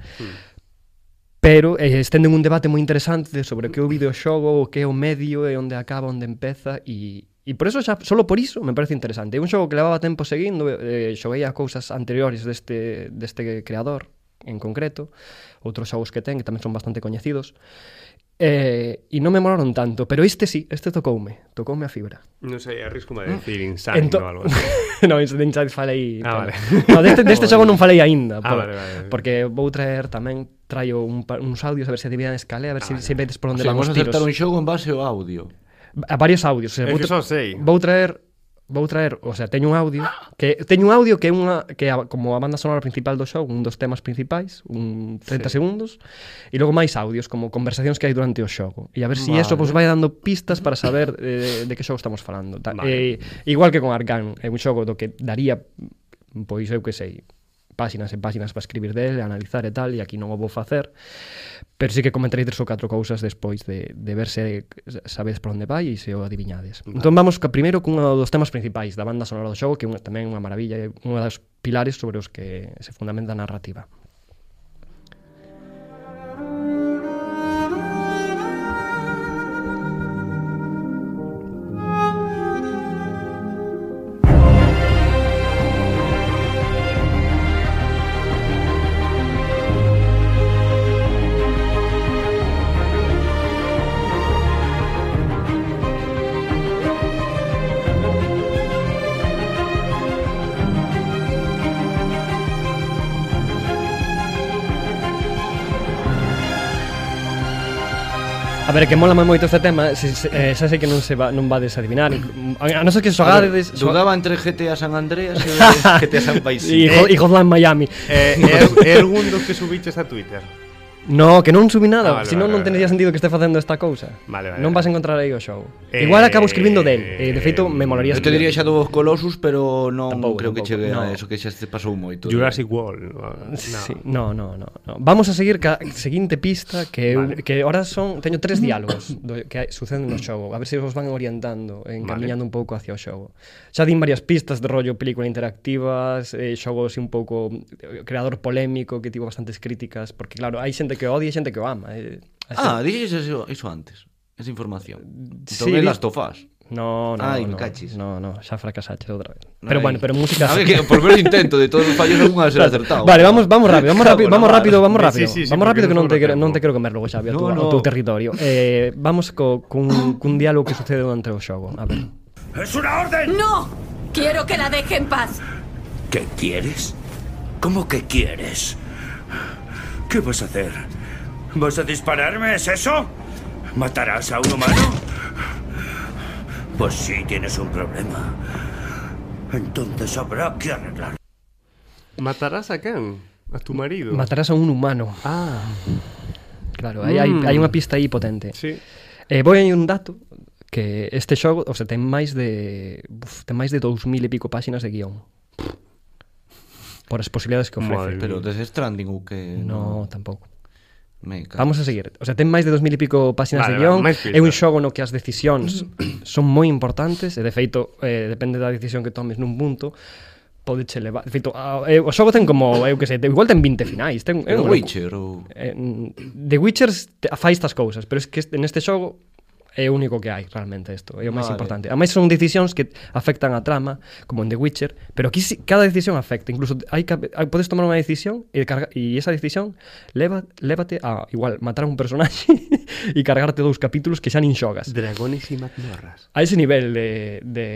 S3: Pero eh, estenden un debate moi interesante sobre o que é o videoxogo, o que é o medio e onde acaba, onde empeza e E por eso xa, solo por iso me parece interesante. É un xogo que levaba tempo seguindo, eh, xoguei a cousas anteriores deste, deste creador en concreto, outros xogos que ten que tamén son bastante coñecidos, eh, e non me molaron tanto, pero este sí, este tocoume, tocoume a fibra.
S1: Non sei, arrisco a decir insano
S3: Ah. Ento-
S1: ou algo así.
S3: no, de Inside falei...
S1: Ah, vale.
S3: claro. No, deste, deste xogo non falei aínda.
S1: Ah, vale, vale, vale.
S3: Porque vou traer tamén, traio un, pa- uns audios, a ver se adivinan escalé, a
S1: Ah,
S3: ver se, se vedes
S2: O
S3: por onde
S2: sea,
S3: van
S2: vamos a
S3: os tiros.
S2: acertar un xogo en base ao audio.
S3: A varios audios. O sea,
S1: É
S3: vou,
S1: que
S3: tra-
S1: só sei.
S3: vou traer vou traer, o sea, teño un audio que teño un audio que é unha que é a, como a banda sonora principal do show, un dos temas principais, un 30 sí. segundos, e logo máis audios como conversacións que hai durante o xogo. E a ver se si eso vos vai dando pistas para saber eh, de que xogo estamos falando. Ta,
S1: Vale.
S3: eh, igual que con Arcan, é un xogo do que daría pois eu que sei, páxinas e páxinas para escribir dele, analizar e tal, e aquí non o vou facer, pero sí que comentarei tres ou catro cousas despois de, de ver se sabedes por onde vai e se o adiviñades. Vale. Entón vamos ca primeiro cun dos temas principais da banda sonora do xogo, que é unha, tamén unha maravilla, é unha das pilares sobre os que se fundamenta a narrativa. A ver, que mola moi moito este tema, se, se, eh, xa sei que non se va, non vades a adivinar, a, a non ser que xogades...
S2: Dudaba entre GTA San Andreas e GTA San
S3: E,
S2: Paisín.
S3: Eh, Hot- e Hotline Miami.
S1: Eh, é, é algún dos que subiches a Twitter.
S3: No, que non subí
S1: Ah,
S3: nada,
S1: vale,
S3: vale, senón
S1: vale,
S3: non
S1: vale,
S3: tenería
S1: vale.
S3: sentido que este facendo esta cousa.
S1: Vale, vale,
S3: non vas
S1: vale.
S3: encontrar aí o show.
S1: Eh,
S3: Igual acabo escribindo del, eh, de feito me molaría
S2: Eu te diría xa dos Colossus, pero non
S3: Tampouco,
S2: creo que
S3: tampouco,
S2: chegue
S3: no.
S2: a eso que xa se pasou moito. eh.
S1: Jurassic World. No.
S3: Sí, no, no, no, no. Vamos a seguir ca seguinte pista que eu,
S1: Vale.
S3: vale. que ahora son teño tres diálogos do, que hai- suceden no xogo, a ver se os van orientando, encaminhando vale. un pouco hacia o xogo. Xa din varias pistas de rollo película interactivas, eh, xogo así un pouco eh, creador polémico que tivo bastantes críticas, porque claro, hai xente que o odia e xente que o ama. Eh.
S2: Ah, dixes eso, eso antes. Esa información. Entón
S3: Sí,
S2: é
S3: di-
S2: Last of Us.
S3: No, no,
S2: Ai, Ah, me
S3: no,
S2: cachis.
S3: No, no, xa fracasaches outra vez. Pero
S2: Ai.
S3: bueno, pero música
S2: A ver, que por menos intento de todos os fallos algunha será acertado.
S3: Vale, vamos, vamos rápido, vamos
S2: Cago
S3: rápido,
S2: na
S3: vamos
S2: madre.
S3: rápido, vamos
S1: Sí,
S3: rápido.
S1: sí, sí,
S3: vamos
S1: porque
S3: rápido que
S1: nos
S3: non te
S1: sobra
S3: quero, non te
S1: tempo.
S3: quero comer logo Xavi,
S2: No,
S3: no,
S2: no.
S3: no. teu territorio. Eh, vamos co cun cun diálogo que sucede durante o xogo. A ver.
S7: ¡Es una orden!
S8: ¡No! Quiero que la deje en paz.
S7: ¿Qué quieres? ¿Cómo que quieres? ¿Qué vas a hacer? ¿Vas a dispararme? ¿Es eso? ¿Matarás a un humano? Pues sí, tienes un problema. Entonces habrá que arreglarlo.
S1: Matarás a quen? A tu marido.
S3: Matarás a un humano.
S1: ah,
S3: Claro, aí
S2: Mm.
S3: hai, hai unha pista aí potente.
S1: sí.
S3: Eh, vou hai un dato que este xogo, o sea, ten máis de uf, ten máis de 2000 e pico páxinas de guión. Por as posibilidades que
S1: Madre.
S3: ofrece.
S2: Pero desde Stranding ou que...
S3: No, tampouco.
S2: Me cago.
S3: Vamos a seguir. O sea, ten máis de 2000 e pico páxinas
S1: Vale,
S3: vale, de guión.
S1: vale, máis
S3: Vale, é un
S1: pistas.
S3: xogo no que as decisións son moi importantes e de feito eh, depende da decisión que tomes nun punto pode che levar. De feito, a, eh, o xogo ten como, eu que sei, te, igual ten 20 finais, ten é
S2: Pero
S3: unha locu-
S2: Witcher ou...
S3: Eh, mm, The Witcher te- fai estas cousas, pero es que este- en este xogo é o único que hai realmente isto, é o máis
S2: Vale.
S3: vale. importante. Ademais son decisións que afectan a trama, como en The Witcher, pero aquí si, cada decisión afecta, incluso hai, que- hai podes tomar unha decisión e, carga, e esa decisión leva, lévate a igual matar a un personaxe e cargarte dous capítulos que xa nin xogas.
S1: Dragones y mazmorras.
S3: A ese nivel de, de,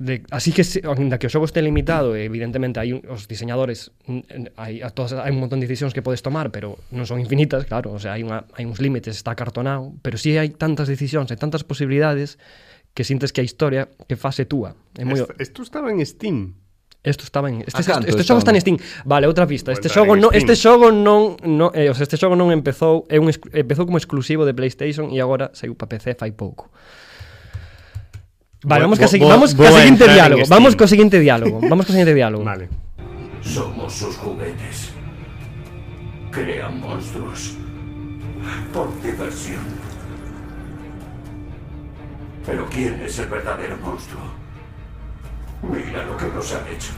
S3: de así que se- aínda que o xogo este limitado, e evidentemente hai un, os diseñadores n- n- hai a todas hai un montón de decisións que podes tomar, pero non son infinitas, claro, o sea, hai unha hai uns límites, está acartonado, pero si sí hai tantas decisións e tantas posibilidades que sintes que a historia que fase túa. É moi
S1: Est- Esto estaba en Steam.
S3: Isto estaba en este,
S2: A canto
S3: este, este xogo está en
S2: están?
S3: Steam. Vale, outra
S1: Vou
S3: pista. Este
S1: entrar
S3: xogo
S1: en
S3: non
S1: Steam.
S3: este xogo non, non eh, o sea, este xogo non empezou, é un exclu- empezou como exclusivo de PlayStation e agora saiu para PC fai pouco. Vale,
S1: Vou-
S3: vamos
S1: vou-
S3: ca segui-
S1: vou-
S3: vamos
S1: vou
S3: ca
S1: a
S3: seguinte
S1: entrar en
S3: diálogo.
S1: Steam.
S3: Vamos co seguinte diálogo. Vamos co seguinte diálogo.
S1: Vale.
S7: Somos sus juguetes. Crean monstruos. Por diversión. Pero ¿quién es el verdadero monstruo? Mira lo que nos han hecho.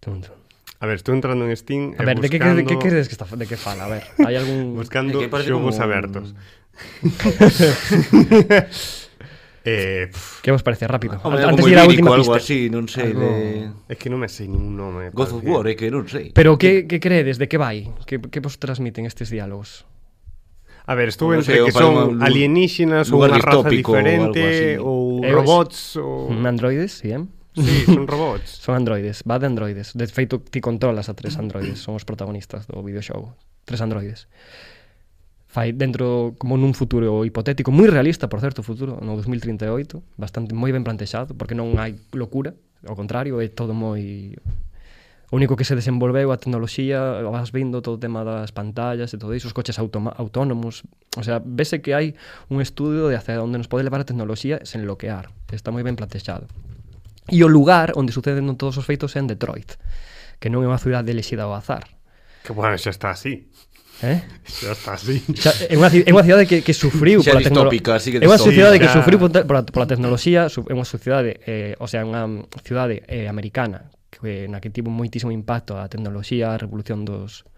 S3: Tum, tum.
S1: A ver, estoy entrando en Steam.
S3: A
S1: eh,
S3: ver, de que
S1: buscando-
S3: de que crees que está de que fala? A ver, hai algún
S1: Buscando
S2: É que parece
S1: xogos
S2: como un-
S1: abertos. eh, pff,
S3: que vos parece rápido.
S2: Hombre, algo
S3: Antes de ir
S2: moi
S3: á
S2: lírico,
S3: última
S2: algo
S3: pista.
S2: así, non sei,
S3: Algo-
S2: de...
S1: es que no me sé ningún nombre.
S2: God of
S1: parece.
S2: War, é que non sei.
S3: Pero que que credes de que vai? Que que vos transmiten estes diálogos?
S1: A ver, estuve
S2: Non
S1: entre que
S2: sei, o para
S1: son
S2: un lu-
S1: alienígenas ou unha
S2: lugar
S1: raza
S2: distópico ou
S1: diferente ou
S2: algo
S3: Eh,
S1: robots
S2: Oh.
S1: ou...
S3: Androides, si, eh?
S1: Sí, son robots.
S3: Son androides, va de androides. De feito, ti controlas a tres androides, son os protagonistas do videoxogo. Tres androides. Fai dentro como nun futuro hipotético, moi realista, por certo, futuro, no 2038, bastante moi ben plantexado, porque non hai locura, ao contrario, é todo moi O único que se desenvolveu a tecnoloxía, vas vindo todo o tema das pantallas e todo iso, os coches automa- autónomos, o sea, vese que hai un estudio de hacia onde nos pode levar a tecnoloxía sen bloquear. Está moi ben plantexado. E o lugar onde suceden todos os feitos é en Detroit, que non é unha cidade elexida ao azar.
S1: Que bueno, xa está así.
S3: Eh?
S1: Xa está así.
S3: Xa, é unha ci- é unha cidade que, que sufriu
S2: Xa
S3: pola
S2: distópica, así que
S3: tecnoloxía. É unha
S2: distópica.
S3: sociedade que
S1: Xa.
S3: sufriu pola, pola, pola tecnoloxía, su- é unha sociedade, eh, o sea, unha mm, cidade eh, americana que na que tivo moitísimo impacto a tecnoloxía, a revolución dos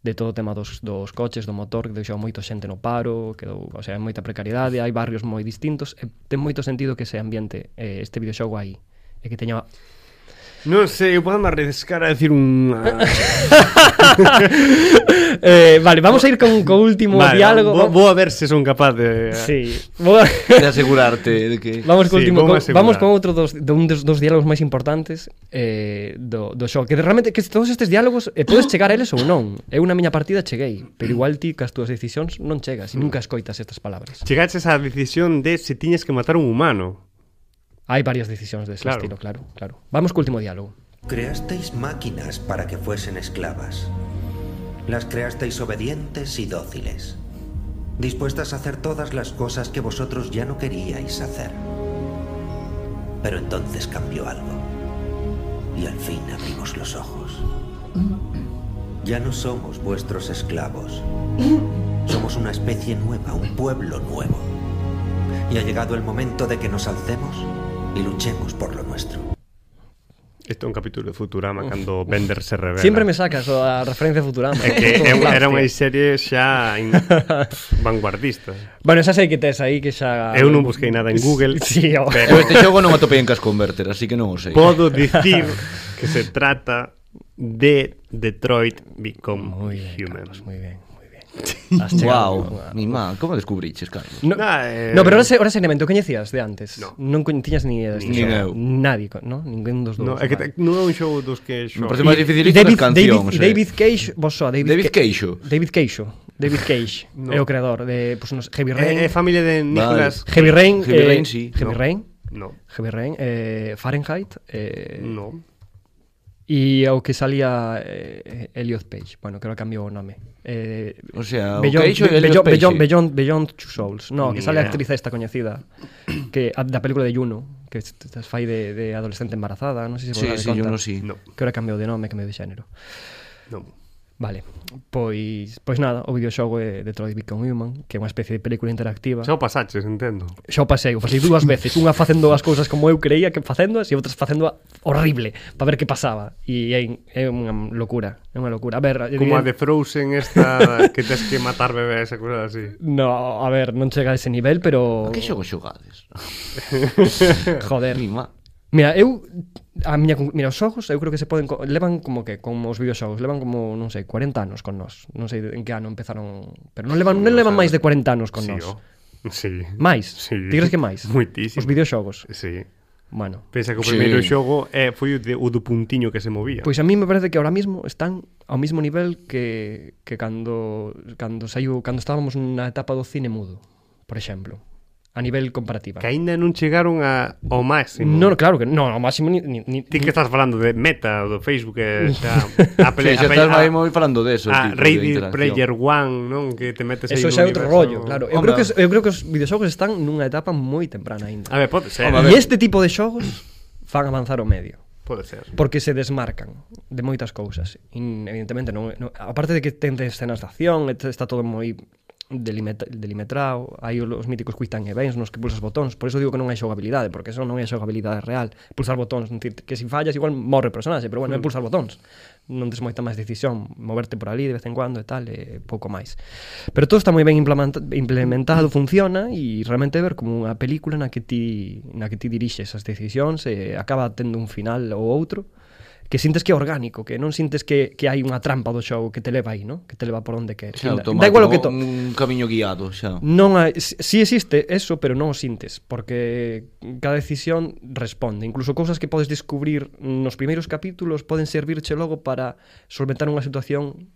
S3: de todo o tema dos, dos coches, do motor, que deixou moito xente no paro, quedou, o sea, hai moita precariedade, hai barrios moi distintos, e ten moito sentido que se ambiente eh, este videoxogo aí, e que teña
S1: Non sei, eu podo me arriscar a decir ah, unha...
S3: Eh, vale, vamos a ir con co último
S1: Vale,
S3: diálogo.
S1: Vou, vou a ver se son capaz de... ah,
S3: Sí. Vou a-
S2: De asegurarte de que...
S3: vamos co
S1: Sí,
S3: último
S1: vou
S3: co-
S1: asegurar.
S3: vamos con outro dos de un dos, dos diálogos máis importantes eh do do show, que realmente que todos estes diálogos eh, podes chegar a eles ou non. Eu na miña partida cheguei, pero igual ti cas túas decisións non chegas e nunca escoitas estas palabras.
S1: Chegaches á decisión de se tiñes que matar un humano.
S3: Hai varias decisións dese
S1: Claro.
S3: estilo, claro, claro. Vamos co último diálogo.
S9: Creasteis máquinas para que fuesen esclavas. Las creasteis obedientes y dóciles, dispuestas a hacer todas las cosas que vosotros ya no queríais hacer. Pero entonces cambió algo. Y al fin abrimos los ojos. Ya no somos vuestros esclavos. Somos una especie nueva, un pueblo nuevo. Y ha llegado el momento de que nos alcemos y luchemos por lo nuestro.
S1: Isto é un capítulo de Futurama cando Bender se revela.
S3: Siempre me sacas a referencia a Futurama.
S1: É que é un- era unha serie xa in... vanguardista.
S3: Bueno, esa sei que tes aí que xa...
S1: Eu non busquei nada en Google,
S3: Ah, Sí,
S2: Eu
S3: o...
S1: pero
S2: este xogo non o topei en Cash Converter, así que non o sei.
S1: podo dicir que se trata de Detroit Become
S3: Muy bien,
S1: Human.
S3: Carlos, muy bien, muy bien. Has chegado.
S2: Wow, mi má, como descubriches, Carlos?
S3: No,
S1: Nah, eh,
S3: no, pero ahora ese, ahora ese elemento coñecías de antes.
S1: No.
S3: Non coñecías ni idea deste
S2: Ni eu.
S3: xogo. Nadie, co- no? Ningún dos
S1: No,
S3: dous.
S1: é que te- non é un xogo dos que xo...
S2: Me parece máis difícil que as
S3: David,
S2: cancións.
S3: David,
S2: eh.
S3: David Cage, vos só, David,
S2: David
S3: Ca-
S2: Queixo.
S3: David Cage. David Cage,
S1: No. Eh,
S3: é o creador de pues, unos Heavy Rain.
S1: É, é familia de Nicolas...
S3: Heavy Rain,
S2: Heavy
S3: eh,
S2: Rain, sí.
S1: No.
S3: Heavy Rain,
S1: No,
S3: Heavy Rain, eh, Fahrenheit, eh,
S1: no.
S3: e o que salía eh, Elliot Page. Bueno, creo que cambiou o nome. Eh,
S2: O sea, o
S3: Beyond,
S2: Queixo e Elliot
S3: Beyond,
S2: Peixe.
S3: Beyond, Beyond, Beyond Two Souls. No, que
S1: Ni
S3: sale a
S1: idea.
S3: actriz esta coñecida que a- da película de Juno, que es- es fai de, de adolescente embarazada, non sei se vos
S2: Sí,
S3: dade
S2: sí,
S3: conta.
S2: yo non sí.
S1: No,
S3: Que ahora cambiou de nome, cambiou de xénero.
S1: no.
S3: Vale, pois pois nada, o videoxogo é Detroit Become Human, que é unha especie de película interactiva.
S1: Xa o pasaches, entendo.
S3: Xa o pasei, o pasei dúas veces, unha facendo as cousas como eu creía que facéndoas e outras facendo horrible, para ver que pasaba. E é, é unha locura, é unha locura. A ver,
S1: Como a de
S3: evidente-
S1: Frozen esta que tens que matar bebés e cosas así.
S3: No, a ver, non chega a ese nivel,
S2: A
S3: pero...
S2: Que xogo xogades?
S3: Joder.
S2: Mi má.
S3: Mira, eu a miña, conc- mira, os xogos eu creo que se poden co- levan como que como os videoxogos, levan como, non sei, 40 anos con nós. Non sei en que ano empezaron, pero non levan non levan máis de 40 anos con
S1: sí,
S3: nós.
S1: o. Sí.
S3: Máis?
S1: Sí.
S3: Ti crees que máis?
S1: Muitísimo.
S3: Os videoxogos.
S1: Sí.
S3: Bueno,
S1: Pensa que o
S2: Sí.
S1: primeiro xogo é, foi o, de, o do puntiño que se movía.
S3: pois a mí me parece que ahora mismo están ao mismo nivel que que cando cando saiu, cando estábamos na etapa do cine mudo, por exemplo, a nivel comparativa.
S1: que aínda non chegaron a, ao máximo.
S3: No, no, claro que no, ao máximo ni, ni, ni
S1: Ti que estás falando de Meta ou do Facebook e xa
S2: Sí,
S1: Apple,
S2: xa
S1: Apple, a,
S2: estás máis moi falando deso,
S1: a,
S2: tipo, de
S1: Ready
S2: interacción.
S1: Player One, non? Que te metes aí no
S3: Eso xa é outro
S1: universo.
S3: rollo, claro. Eu
S2: Hombre.
S3: creo que os, eu creo que os videoxogos están nunha etapa moi temprana aínda. Eh,
S1: A ver, pode ser.
S2: Home, a ver.
S3: E este tipo de xogos fan avanzar o medio,
S1: Pode ser.
S3: porque se desmarcan de moitas cousas. In, evidentemente non, non aparte de que ten de escenas de acción, et- está todo moi delimeta- delimetrado, hai o- os míticos quick time events nos que pulsas botóns, por eso digo que non hai xogabilidade, porque eso non é xogabilidade real. Pulsar botóns, non dicir, que se fallas igual morre o personaxe, pero bueno, é pulsar botóns. Non tes moita máis decisión, moverte por ali de vez en cuando e tal, e pouco máis. Pero todo está moi ben implementa- implementado, funciona e realmente é ver como unha película na que ti na que ti dirixes as decisións e acaba tendo un final ou outro que sintes que é orgánico, que non sintes que, que hai unha trampa do xogo que te leva aí, ¿no? que te leva por onde queres.
S2: Xa,
S3: Da-
S2: automático,
S3: da igual o que to...
S2: Un camiño guiado, xa.
S3: Non hai, si si existe eso, pero non o sintes, porque cada decisión responde. Incluso cousas que podes descubrir nos primeiros capítulos poden servirche logo para solventar unha situación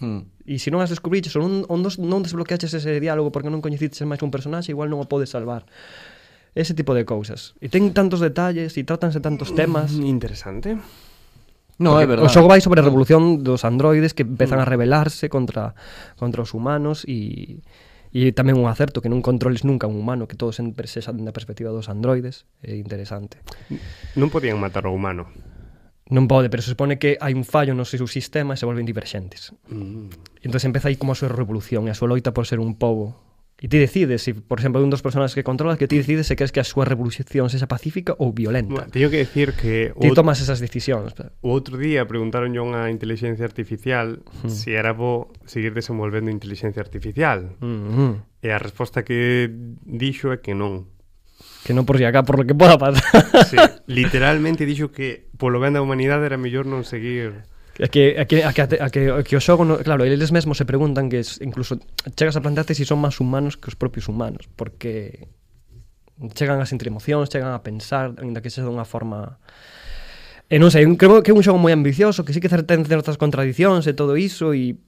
S2: Hmm.
S3: E se non as descubriches ou non, ou non non desbloqueaches ese diálogo porque non coñeciches máis un personaxe, igual non o podes salvar. Ese tipo de cousas. E ten tantos detalles e tratanse tantos temas.
S1: Interesante.
S2: No, é
S3: Porque
S2: verdade.
S3: O xogo vai sobre a revolución dos androides que empezan a rebelarse contra contra os humanos e e tamén un acerto que non controles nunca un humano, que todo sempre sexa da perspectiva dos androides, é interesante.
S1: Non podían matar o humano.
S3: Non pode, pero se supone que hai un fallo no seu sistema e se volven diverxentes. Entón empeza aí como a súa revolución e a súa loita por ser un pobo. E ti decides, se, por exemplo, hai un dos personas que controlas, que ti decides se crees que a súa revolución sexa pacífica ou violenta.
S1: Bueno, teño que decir que
S3: Ti
S1: o-
S3: tomas esas decisións.
S1: O outro día preguntaron a unha inteligencia artificial
S2: Hmm.
S1: se era bo seguir desenvolvendo inteligencia artificial.
S3: Mm, mm.
S1: E a resposta que dixo é que non.
S3: Que non por si acá, por lo que poda pasar.
S1: Sí, literalmente dixo que polo ben da humanidade era mellor non seguir.
S3: É que, é que, é que, é que, é que o xogo, no, claro, eles mesmos se preguntan que es, incluso chegas a plantearte se si son máis humanos que os propios humanos, porque chegan a sentir emocións, chegan a pensar, ainda que sexa dunha forma... E non sei, eu creo que é un xogo moi ambicioso, que sí que cer- ten certas contradicións e todo iso, e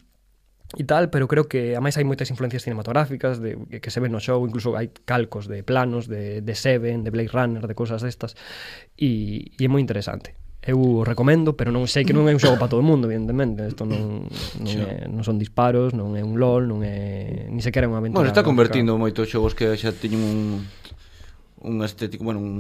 S3: e tal, pero creo que ademais hai moitas influencias cinematográficas de, que, que se ven no show, incluso hai calcos de planos de, de Seven, de Blade Runner, de cousas destas e, e é moi interesante. Eu o recomendo, pero non sei que non é un xogo para todo o mundo, evidentemente. Isto non, non, é, non son disparos, non é un LOL, non é... Ni sequera é unha aventura.
S2: Bueno, está
S3: gráfica.
S2: convertindo moitos xogos que xa teñen un un estético, bueno, un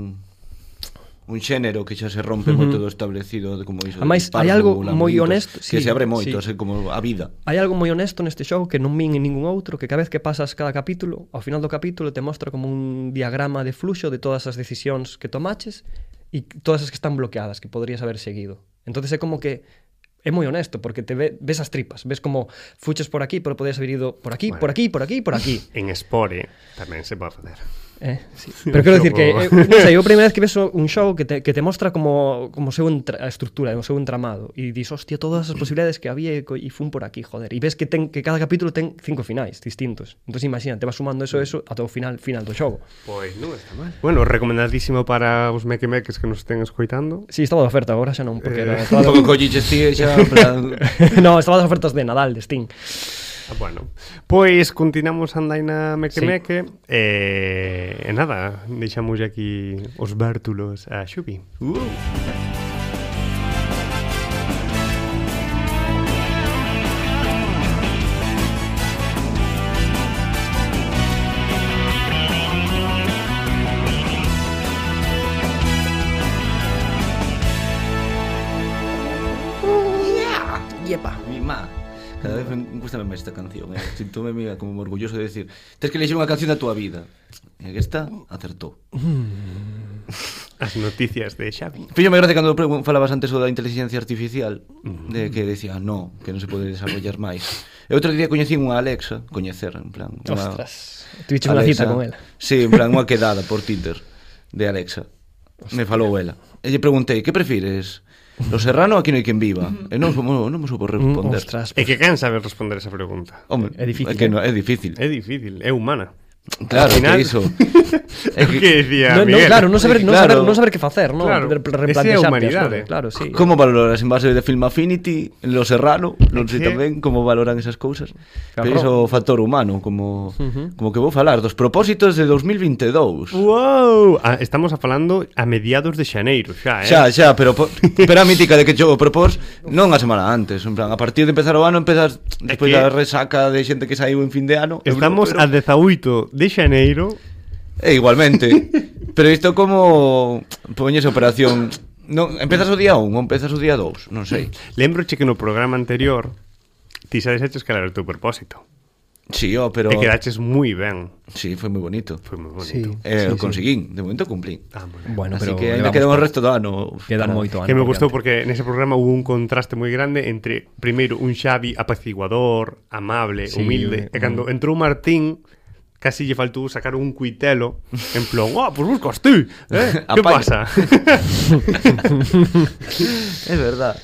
S2: un xénero que xa se rompe
S3: Ujú.
S2: moito do establecido de como iso. de
S3: Amais, hai
S2: disparos
S3: algo
S2: ou
S3: moi
S2: labirintos,
S3: honesto-
S2: que
S3: sí,
S2: se abre moito,
S3: sí.
S2: así como a vida.
S3: Hai algo moi honesto neste xogo que non min en ningún outro, que cada vez que pasas cada capítulo, ao final do capítulo te mostra como un diagrama de fluxo de todas as decisións que tomaches e todas as que están bloqueadas, que poderías haber seguido. Entonces é como que é moi honesto porque te ve, ves as tripas, ves como fuches por aquí, pero podías haber ido por aquí,
S1: Bueno.
S3: por aquí, por aquí, por aquí.
S1: En Spore tamén se pode facer.
S3: Eh, sí. Pero quero dicir que, eh,
S1: Xogo.
S3: non sei, eu a primeira vez que ves un xogo que te, que te mostra como, como seu entra, a estructura, o seu entramado, e dis, hostia, todas as posibilidades que había e, co- e fun por aquí, joder, e ves que ten que cada capítulo ten cinco finais distintos. Entón, imagínate, vas sumando eso, eso, ata o final, final do xogo.
S1: Pois non está mal. Bueno, recomendadísimo para os mequemeques que nos estén escoitando.
S3: Si, sí, estaba de oferta agora, xa non, porque
S1: Eh,
S3: era...
S2: Un
S3: Estaba
S2: pouco colliches ti e xa en plan
S3: no, estaba das ofertas de Nadal, de Steam.
S1: Ah, Bueno, pois continuamos andaina mequemeque sí. e, e nada, deixamos aquí os bártulos a Xubi.
S2: uh.
S9: Yepa.
S2: Mi má. Cada vez me gusta máis esta canción. Eh. Sinto-me mira, como orgulloso de decir, tes que elixir unha canción da túa vida. E que esta acertou.
S1: As noticias de Xavi.
S2: Fillo me gracia cando pregun- falabas antes o da inteligencia artificial De que decía, no, que non se pode desarrollar máis E outro día coñecín unha Alexa Coñecer, en plan unha-
S3: Ostras, tuviches unha cita con ela.
S2: Sí, en plan, unha quedada por Tinder De Alexa Me falou ela E lle preguntei, que prefires? Lo serrano aquí no hai quen viva E non, non, non me supo
S3: Mm,
S2: responder
S3: Ostras,
S1: E que can saber responder esa pregunta.
S2: Hombre,
S3: É difícil,
S2: é que
S3: eh?
S2: no, é difícil
S1: É difícil, é humana.
S2: Claro,
S1: Al final-
S2: que iso
S1: É
S2: É
S1: que decía
S3: No, no,
S1: Miguel.
S3: claro, non saber, non
S2: Claro.
S3: saber, non saber que facer, non?
S1: Claro, ese é
S3: Re-
S1: a
S3: replantearte as
S1: humanidade.
S3: cosas, Claro, sí.
S2: Como valoras en base de Film Affinity, en Lo Serrano, non sei
S1: que-
S2: tamén como valoran esas cousas. Pero
S3: Claro.
S2: iso é o factor humano, como como que vou falar dos propósitos de 2022.
S1: Wow, ah, estamos a falando a mediados de xaneiro xa, eh?
S2: Xa, xa, pero po- pero a mítica de que yo propós non a semana antes, en plan, a partir de empezar o ano empezas despois
S1: que-
S2: da resaca de xente que saiu en fin de ano. eu non-
S1: Estamos
S2: pero-
S1: a 18 de xaneiro
S2: E igualmente. Pero isto como poñes operación Non, empezas o día 1 ou empezas o día 2, non sei.
S1: Lembroche que no programa anterior Ti xa desheches que era o teu propósito
S2: Si, sí, oh, pero
S1: Pero... E quedaches moi ben
S2: Si, sí, foi moi bonito.
S1: Foi moi
S3: Sí.
S1: bonito sí.
S2: Eh, o
S3: Sí, sí.
S2: conseguín, de momento cumplí.
S1: ah, moi ben.
S3: Bueno,
S2: Así
S3: pero
S2: que ainda
S3: levamos
S2: queda o
S3: pa-
S2: resto do ano.
S3: Queda
S2: para-
S3: moito ano.
S1: Que me
S3: por
S1: gustou
S3: diante.
S1: porque nese programa hubo un contraste moi grande entre primeiro un Xavi apaciguador, amable, sí,
S3: Sí,
S1: humilde, e
S3: un-
S1: cando entrou Martín casi lle faltou sacar un cuitelo en plan, "Ah, oh, pois pues buscas ti, eh? Que
S2: Apaña.
S1: pasa?"
S2: É verdad.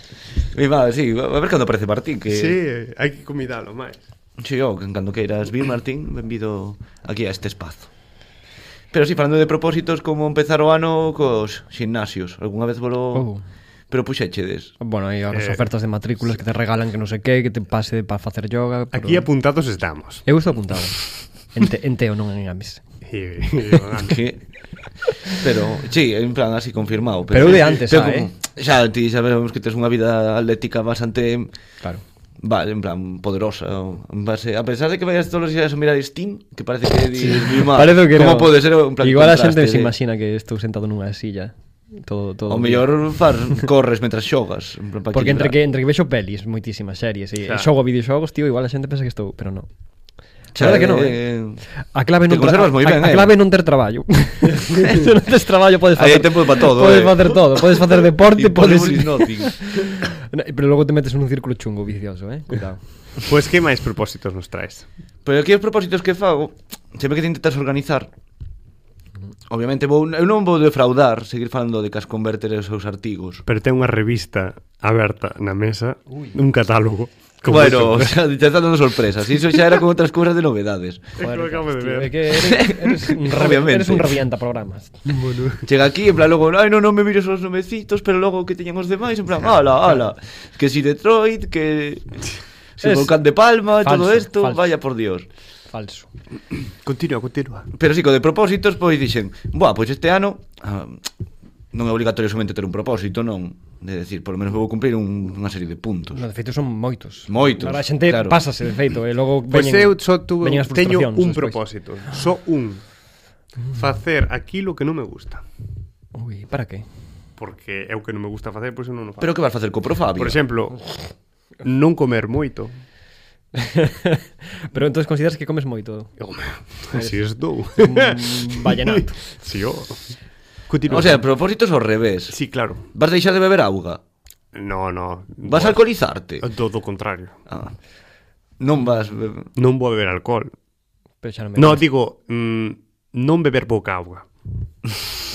S2: Mi madre, sí, a ver cando aparece Martín que
S1: sí, hai que convidalo máis.
S2: sí oh, que cando queiras vir Martín, benvido aquí a este espazo. Pero si sí, falando de propósitos como empezar o ano cos gimnasios, algunha vez volo
S3: Oh.
S2: Pero puxechedes.
S3: Bueno, hai as
S1: Eh,
S3: ofertas de matrículas que te regalan que non sei que, que te pase para facer yoga. Pero...
S1: Aquí apuntados estamos.
S3: Eu estou apuntado. En, te, en teo, non en amis.
S1: E- e-
S2: Que... Pero, sí, en plan así confirmado
S3: Pero de antes, xa,
S2: como-
S3: eh.
S2: Xa, ti sabemos que tes unha vida atlética bastante
S3: Claro.
S2: Vale, en plan, poderosa o- en base, A pesar de que vayas todos os días a mirar Steam Que parece que di,
S3: Parece que
S2: Como
S3: no.
S2: pode ser en plan
S3: Igual a
S2: contraste
S3: xente se
S2: de-
S3: imagina que estou sentado nunha silla. Todo, todo
S2: O
S3: día.
S2: mellor far, corres mentras xogas en plan, pa
S3: Porque entre que,
S2: equilibrar.
S3: entre que vexo pelis, moitísimas series e,
S1: Claro.
S3: claro. e xogo a videoxogos, tío, igual a xente pensa que estou, pero non.
S2: Xa,
S3: A verdade que non,
S2: eh,
S3: A clave
S2: Te
S3: non tra-
S2: conservas moi
S3: a-
S2: ben,
S3: a,
S2: eh.
S3: clave non ter traballo. Se non tes traballo podes
S2: Aí
S3: facer.
S2: hai tempo pa todo,
S3: Podes
S2: eh.
S3: facer todo, podes facer deporte,
S2: Y
S3: podes
S2: podes nothing.
S3: No, Pero logo te metes en un círculo chungo vicioso, eh. Cuidado.
S1: Pois que máis propósitos nos traes?
S2: Pero aquí os propósitos que fago Sempre que te intentas organizar Obviamente vou, eu non vou defraudar Seguir falando de que as converter e os seus artigos
S1: Pero ten unha revista aberta na mesa, un catálogo. como
S2: bueno, o
S1: tú.
S2: sea, te estás dando sorpresas. Iso xa era con outras cousas de novedades.
S1: Joder,
S3: Joder,
S1: acabo de
S3: tío,
S1: ver.
S3: é que eres, eres un
S2: Obviamente.
S3: revi- eres un revienta programas.
S2: Chega aquí, en plan, logo, ai, non, non me mires os nomecitos, pero logo que teñan os demais, en plan, ala, ala, que si Detroit, que si
S3: Es-
S2: Volcán de Palma,
S3: Falso,
S2: todo esto,
S3: falso.
S2: vaya por Dios.
S3: Falso.
S1: Continúa, continúa.
S2: Pero si, co de propósitos, pois dixen, buah, pois este ano, ah, non é obrigatoriosamente ter un propósito, non? De decir, por lo menos vou cumprir un, unha serie de puntos.
S3: No, de feito son moitos.
S2: Moitos,
S3: Ahora a xente
S2: claro.
S3: pásase, de feito, e logo
S1: Pois
S3: eh, veñen,
S1: eu só tuve,
S3: veñen as
S1: teño
S3: frustracións
S1: un
S3: despois.
S1: propósito, só un. Facer aquilo que non me gusta,
S3: Ui, para que?
S1: porque é o que non me gusta facer, pois eu non o fago.
S2: Pero que vas facer co Profabio?
S1: Por exemplo, non comer moito.
S3: Pero entón consideras que comes moito?
S1: Home, Así estou.
S3: Un vallenato.
S1: Si, oh.
S2: o sea, propósitos ao revés.
S1: Sí, claro.
S2: Vas deixar de beber auga?
S1: No, no.
S2: Vas a alcoholizarte?
S1: Todo o contrario.
S2: Ah. Non vas... eh, be-
S1: Non vou beber alcohol.
S3: Pero xa non me
S1: No, digo, mm, non beber pouca auga.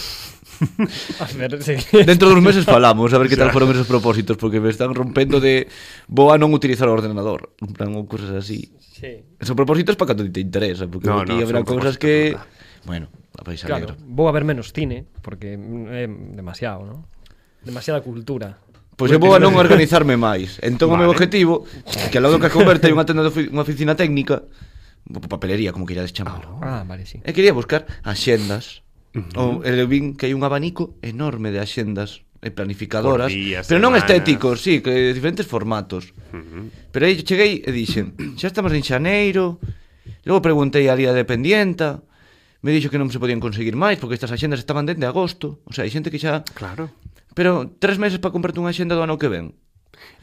S3: A ver, sí.
S2: Dentro dos meses falamos a ver que tal foron esos propósitos porque me están rompendo de vou a non utilizar o ordenador, en plan ou cousas así.
S3: sí.
S2: Esos propósitos para cando te interesa, porque
S1: No,
S2: no, aquí
S1: no,
S2: no, habrá
S1: son
S2: cousas
S1: propósitos,
S2: que
S1: verdad.
S2: bueno, a país
S3: Claro,
S2: alegro.
S3: vou a ver menos cine porque mm, é demasiado, ¿no? Demasiada cultura.
S2: Pois eu vou a non organizarme máis. Entón vale. o meu objetivo é que ao lado do que converte hai unha tenda de ofi- unha oficina técnica, bo- papelería como queirades chamalo.
S3: Ah, vale, sí.
S2: E quería buscar axendas. Uh -huh. O, e vin que hai un abanico enorme de axendas e planificadoras,
S1: Por días,
S2: pero non
S1: semanas.
S2: estéticos, sí, que de diferentes formatos. Uh -huh. Pero aí cheguei e dixen, xa estamos en xaneiro, logo preguntei a día dependienta, me dixo que non se podían conseguir máis porque estas axendas estaban dende agosto, o sea, hai xente que xa...
S1: Claro.
S2: Pero tres meses para comprarte unha axenda do ano que ven.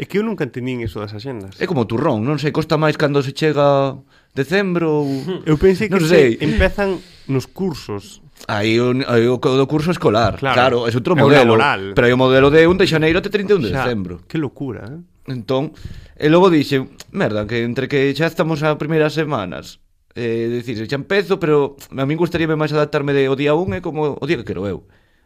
S1: É que eu nunca entendín iso das axendas.
S2: É como turrón, non sei, costa máis cando se chega decembro ou...
S1: Eu pensei que
S2: non
S1: se
S2: sei.
S1: empezan nos cursos.
S2: Hai un, hai o co- do curso escolar,
S1: Claro.
S2: claro, claro é outro
S1: É o
S2: modelo,
S1: laboral.
S2: pero hai o modelo de 1 de xaneiro até 31 de
S1: Xa,
S2: decembro.
S1: Que locura, eh?
S2: Entón, e logo dixe, merda, que entre que xa estamos a primeiras semanas, eh, dicir, xa empezo, pero a min gustaríame máis adaptarme de o día 1 é como o día que quero eu.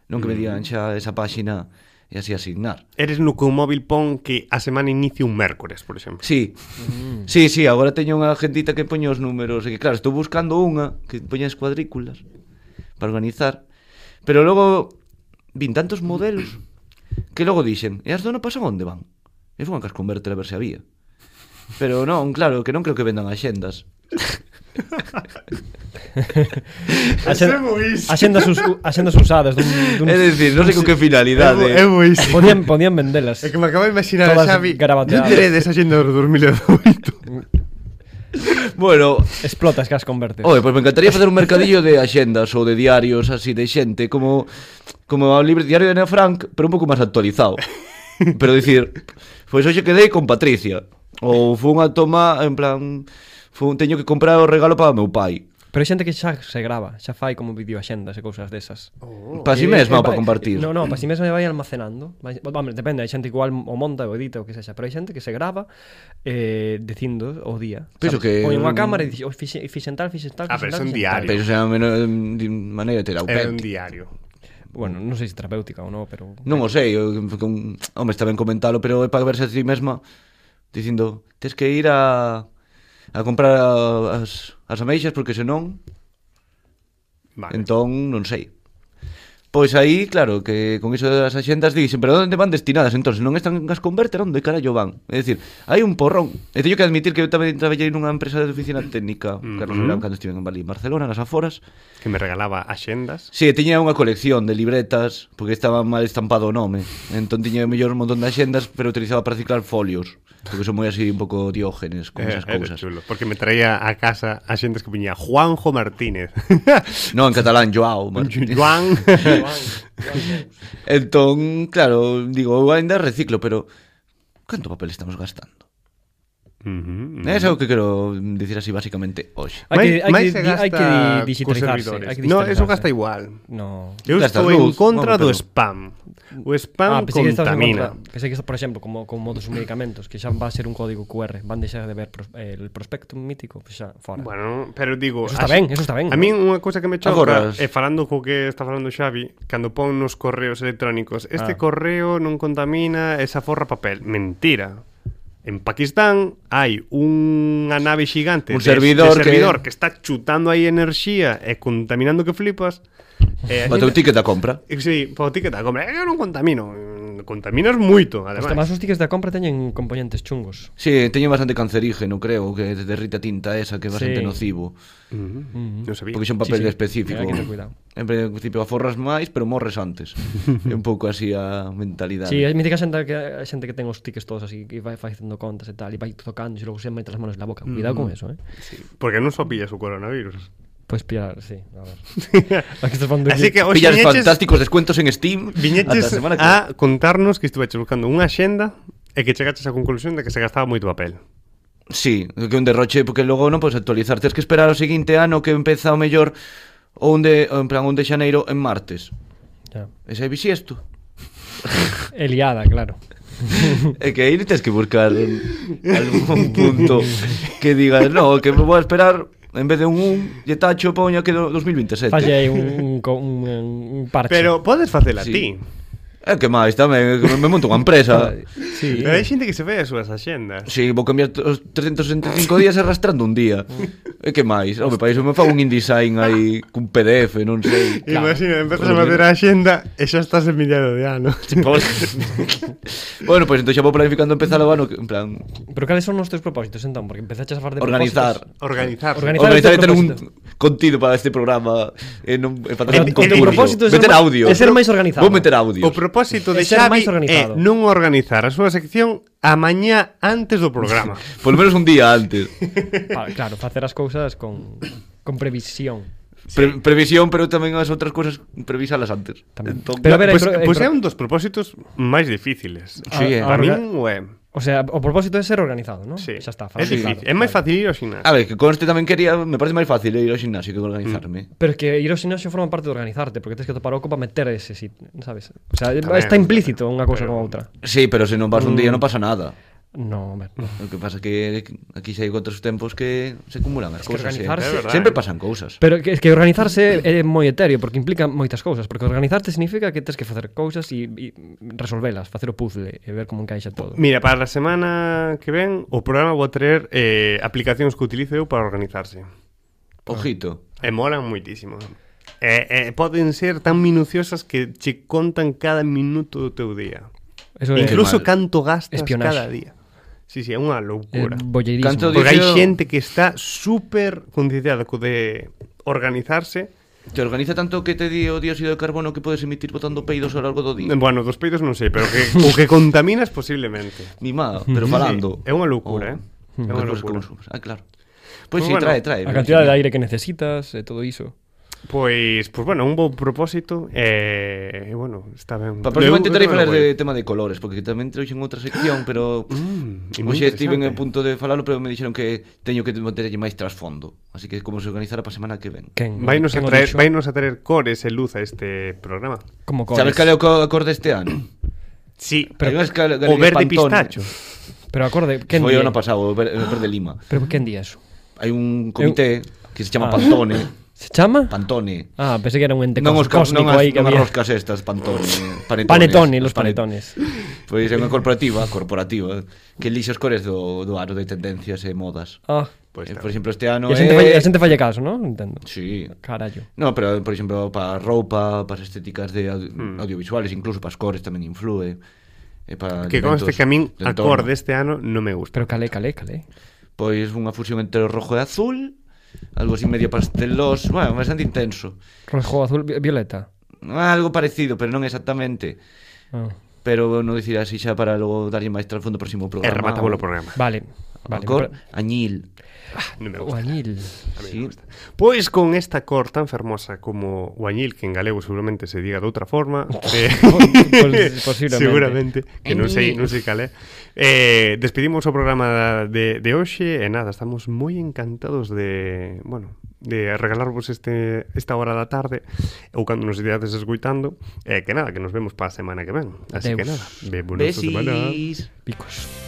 S2: Non que
S1: Mm.
S2: me digan xa esa páxina e así asignar.
S1: Eres no que o móvil pon que a semana inicia un mércores, por exemplo.
S2: Sí. Mm. Sí, sí, agora teño unha agendita que poño os números, e que claro, estou buscando unha que poña as cuadrículas para organizar, pero logo vin tantos modelos que logo dixen, e as do ano pasado onde van? E fun a Casconverter a ver se había. Pero non, claro, que non creo que vendan axendas.
S3: Axen- Axendas, us, u- axendas usadas dun, dun
S2: É dicir, non sei con que finalidade.
S1: boísimo.
S3: podían podían vendelas.
S1: É que me acabo de imaginar
S3: Todas
S1: a Xavi
S3: garabateadas.
S1: Tiré desa xenda do 2018
S2: Bueno,
S3: Explotas que as convertes.
S2: Oe, pois me encantaría facer un mercadillo de axendas ou de diarios así de xente como como o libro diario de Ana Frank, pero un pouco máis actualizado. Pero dicir, pois hoxe quedei con Patricia ou fun a tomar en plan fun teño que comprar o regalo para meu pai.
S3: Pero hai xente que xa se grava, xa fai como videoaxendas e cousas desas.
S2: Oh, para si
S3: Eh,
S2: mesma ou
S3: eh,
S2: para
S3: vai-
S2: compartir.
S3: No, no, para si mesma vai almacenando. Vai, home, depende, hai xente que igual o monta o edita o que sexa, pero hai xente que se grava eh, dicindo o día.
S2: Penso que-
S3: sabes? Poñen unha cámara e dixen, "Oh, fixe- fixen tal, fixen tal,
S1: A ver, son
S3: fixen tal, fixen
S1: diarios.
S2: Pero xa menos de maneira
S1: Era un
S2: terapéutica.
S1: diario
S3: tal". Bueno, non sei se terapéutica ou non, pero...
S2: Non o sei, eu- con, home, está ben comentalo, pero é para verse a ti mesma dicindo, tes que ir a a comprar a- as, as ameixas porque senón
S1: Vale.
S2: Entón, non sei. Pois aí, claro, que con iso das axendas dixen, pero onde van destinadas? Entón, se non están en Gasconverter, onde carallo van? É dicir, hai un porrón. E teño que admitir que eu tamén traballei nunha empresa de oficina técnica,
S1: Mm-hmm.
S2: Carlos Verán, cando estiven en Bali, en Barcelona, nas aforas.
S1: que me regalaba axendas.
S2: Si, sí, tiña unha colección de libretas, porque estaba mal estampado o nome. Entón tiña o mellor un montón de axendas, pero utilizaba para ciclar folios, porque son moi así un pouco diógenes con esas
S1: Eh, era
S2: cousas.
S1: chulo, porque me traía a casa axendas que viña Juanjo Martínez.
S2: Non, en catalán, Joao. Martínez.
S1: Juan.
S2: Entón, claro, digo, eu ainda reciclo, pero canto papel estamos gastando?
S1: Ujú,
S2: Mm. É o que quero dicir así basicamente hoxe.
S3: Hai que,
S1: Mais-
S3: hai
S1: mais
S3: que,
S1: se
S3: di- hai que
S1: gasta
S3: di-
S1: cos
S3: digitalizarse.
S1: servidores.
S3: Hai que
S1: No,
S3: digitalizarse.
S1: eso gasta igual.
S3: No.
S1: Eu
S2: Gastas
S1: estou en
S2: luz,
S1: contra
S2: vamos,
S1: do
S2: pero-
S1: spam. O spam
S3: Ah, pensei que estabas en
S1: contamina.
S3: contra. Pensei que, esta- por exemplo, como, como dos medicamentos, que xa va a ser un código QR, van deixar de ver pros, eh, el prospecto mítico, pues xa fora. Bueno,
S1: Bueno, pero digo,
S3: Eso está
S1: as-
S3: ben, eso está ben,
S1: A
S3: ¿no?
S1: min unha cousa que me choca
S2: Agora-
S1: é falando co que está falando Xavi, cando pon nos correos electrónicos, este
S3: Ah.
S1: correo non contamina, esa forra papel, mentira. En Pakistán hai unha nave xigante
S2: Un servidor
S1: de
S2: que-
S1: servidor que... está chutando aí enerxía e contaminando que flipas. E a
S2: O
S1: xente-
S2: teu
S3: eh,
S2: ticket da compra.
S1: "Pois Eh, Sí, pa o ticket da compra. Eu non contamino. Mm, contaminas moito, ademais.
S3: Además, os tickets da compra teñen componentes chungos.
S2: Sí, teño bastante cancerígeno, creo, que te derrite a tinta esa, que é bastante
S3: Sí.
S2: nocivo.
S1: Mm, Non sabía.
S2: Porque xa un papel
S3: Sí, sí.
S2: específico.
S3: Hai que ter cuidado.
S2: En principio aforras máis, pero morres antes. é un pouco así a mentalidade.
S3: Sí, é mítica xente que a xente que ten os tickets todos así que vai facendo contas e tal e vai tocando e logo se mete as manos na boca. Cuidado con eso, eh.
S1: Porque non só pillas o coronavirus.
S3: Pois pillar, sí, a ver. Aquí estás falando
S1: Así que hoxe
S2: Pillas
S1: viñeches,
S2: fantásticos descuentos en Steam.
S1: viñeches
S2: ata a semana que
S1: a contarnos que estiveches buscando unha xenda e que chegaches á conclusión de que se gastaba moito papel.
S2: Sí, que un derroche porque logo non podes actualizar, tens que esperar ao seguinte ano que empeza o mellor o un de, o en plan, un de xaneiro en martes.
S3: Ya.
S2: E xa é bisiesto.
S3: É liada, claro.
S2: É que aí tens que buscar un- algún punto que digas, no, que me vou a esperar en vez de un 1, lle tacho poña que do 2027.
S3: Falle aí un, un, co- un, un parche.
S1: Pero podes facela
S2: Sí.
S1: sí. ti.
S2: É que máis tamén, é que me monto unha empresa.
S3: sí.
S1: Pero hai xente que se ve as súas axendas.
S2: Si, sí, vou cambiar os 365 días arrastrando un día. E que máis? Home, para iso me fago un InDesign aí cun PDF, non sei.
S1: Claro. Imagina, empezas a facer a axenda e xa estás en millado de ano.
S2: bueno, pois pues, entón xa vou planificando empezar o ano que, en plan
S3: Pero cales son os teus propósitos entón? Porque empezaches a falar de
S2: organizar
S3: propósitos.
S1: Organizar.
S2: organizar
S3: Organizar. Organizar
S2: e ter un
S3: propósito.
S2: contido para este programa e non e para
S3: O sea,
S1: o
S2: un
S1: teu
S2: concurso.
S1: propósito
S3: é ser
S2: meter
S3: máis-
S2: audio.
S3: é ser máis organizado.
S2: Vou meter audio.
S1: O propósito de
S3: É ser
S1: Xavi
S3: máis
S1: é
S3: organizado.
S1: non organizar a súa sección a mañá antes do programa.
S2: Por lo menos un día antes.
S3: Pa- claro, facer as cousas con, con previsión.
S2: Pre previsión, pero tamén as outras cousas previsalas antes.
S3: Tamén.
S2: Entón,
S3: Pero a ver, Ah,
S1: pois
S3: eh,
S1: pues,
S3: pro-
S1: é un dos propósitos máis difíciles.
S2: Sí, eh.
S1: Para
S3: Ahora-
S1: min o é.
S3: O sea, o propósito é ser organizado, ¿no?
S1: Sí.
S3: Xa está,
S1: é
S3: fácil,
S1: difícil.
S3: claro,
S1: é máis
S3: claro.
S1: fácil ir ao xinasio.
S2: A ver, que con este tamén quería, me parece máis fácil eh, ir ao gimnasio que organizarme.
S3: Pero es que ir ao gimnasio forma parte de organizarte, porque tens que topar oco para meter ese sitio, sabes? O sea,
S1: Tamén,
S3: está implícito unha cousa
S1: pero-
S3: como outra.
S2: Sí, pero se non vas un día
S3: Mm.
S2: non pasa nada.
S3: No, hombre, no.
S2: O que pasa que aquí xa hai outros tempos que se acumulan as
S3: que
S2: cousas. eh.
S3: organizarse- É
S1: verdade.
S2: Sempre pasan cousas.
S3: Pero que, es que organizarse é moi etéreo, porque implica moitas cousas, porque organizarte significa que tens que facer cousas e, e resolvelas, facer o puzzle e ver como encaixa todo.
S1: Mira, para a semana que ven o programa vou traer eh, aplicacións que utilizo eu para organizarse.
S2: Ojito.
S1: E molan moitísimo. E, e poden ser tan minuciosas que che contan cada minuto do teu día.
S3: Eso é
S1: Incluso
S2: mal.
S1: canto gastas
S3: Espionaxe.
S1: cada día. Sí, sí, é unha
S3: é
S1: loucura.
S3: bolleirismo.
S2: Canto
S1: Porque hai
S2: Dixo-
S1: xente que está super concienciada co de organizarse.
S2: Te organiza tanto que te di o dióxido de carbono que podes emitir botando peidos ao largo do día.
S1: Bueno, dos peidos non sei, pero que, o que contaminas posiblemente.
S2: Mimado, pero falando.
S1: é unha loucura, eh. É
S2: É
S1: unha
S2: unha
S1: loucura.
S2: Ah, claro. Pois
S1: Pues
S2: si,
S1: bueno,
S2: trae, trae.
S3: A Hmm. cantidad de aire que necesitas e todo iso.
S1: Pois, pois Pues, bueno, un bo propósito e, eh, bueno, está ben.
S2: Para próximo
S1: Eu-
S2: intentarei
S1: eu non
S2: falar
S1: vou
S2: de
S1: ir.
S2: tema de colores, porque tamén trouxen outra sección, pero
S1: Mm, e moi
S2: hoxe estiven
S1: interesante.
S2: en punto de falalo, pero me dixeron que teño que meterlle máis trasfondo. Así que como se organizara para semana que ven.
S3: Quen?
S1: Vainos a
S3: quen o
S1: traer,
S3: dixo?
S1: vainos a traer cores e luz a este programa.
S3: Como cores.
S2: Sabes cal é o co- acorde este ano?
S1: Sí,
S2: Hai unhas cal-
S1: o
S2: galerías
S1: verde
S2: Pantone.
S1: pistacho.
S3: Pero acorde, quen
S2: Foi o
S3: día?
S2: ano pasado, o ver- o verde Lima.
S3: Pero quen día eso?
S2: Hai un comité que se chama
S3: Ah.
S2: Pantone.
S3: Se chama?
S2: Pantone.
S3: Ah, pensei que era un ente
S2: non os
S3: cos-
S2: cos, non
S3: cósmico
S2: as,
S3: aí que
S2: non as
S3: había.
S2: roscas estas, Pantone, panetones.
S3: Panetone,
S2: Os
S3: los
S2: pane-
S3: panetones.
S2: Pois é unha corporativa, corporativa, que elixe os cores do, do aro de tendencias e modas.
S3: Ah,
S1: Pois
S2: Eh,
S1: está.
S2: por exemplo, este ano
S3: e a
S2: é...
S3: xente falle, a xente falle caso, ¿no? Entendo.
S2: Sí.
S3: Carallo.
S2: No, pero, por exemplo, para roupa, para estéticas de audio
S1: Hmm.
S2: audiovisuales, incluso para os cores tamén influe. E para
S1: Que este conste
S2: elementos
S1: que a min
S2: de
S1: a
S2: entorno.
S1: cor deste este ano non me gusta.
S3: Pero calé, calé, calé.
S2: Pois unha fusión entre o rojo e azul, algo así medio pasteloso, bueno, bastante intenso.
S3: Rojo, azul, vi- violeta.
S2: Algo parecido, pero non exactamente.
S3: Ah.
S2: Pero non dicir así xa para logo darlle máis trasfondo ao próximo
S1: E
S2: programa.
S1: rematamos o
S2: ao-
S1: programa.
S3: Vale,
S2: ao
S3: vale.
S2: Cor,
S3: pero-
S2: añil.
S1: Non me
S3: O
S1: gusta.
S3: añil.
S2: Sí.
S1: Pois con esta cor tan fermosa como o añil, que en galego seguramente se diga de outra forma, eh,
S3: Pos- posiblemente.
S1: seguramente, que non sei, non sei cal é, eh, despedimos o programa de, de hoxe e nada, estamos moi encantados de, bueno, de regalarvos este, esta hora da tarde ou cando nos ideades escuitando e eh, que nada, que nos vemos para a semana que ven así
S3: Adeus.
S1: que nada, vemos a semana
S2: Besis.
S3: Picos.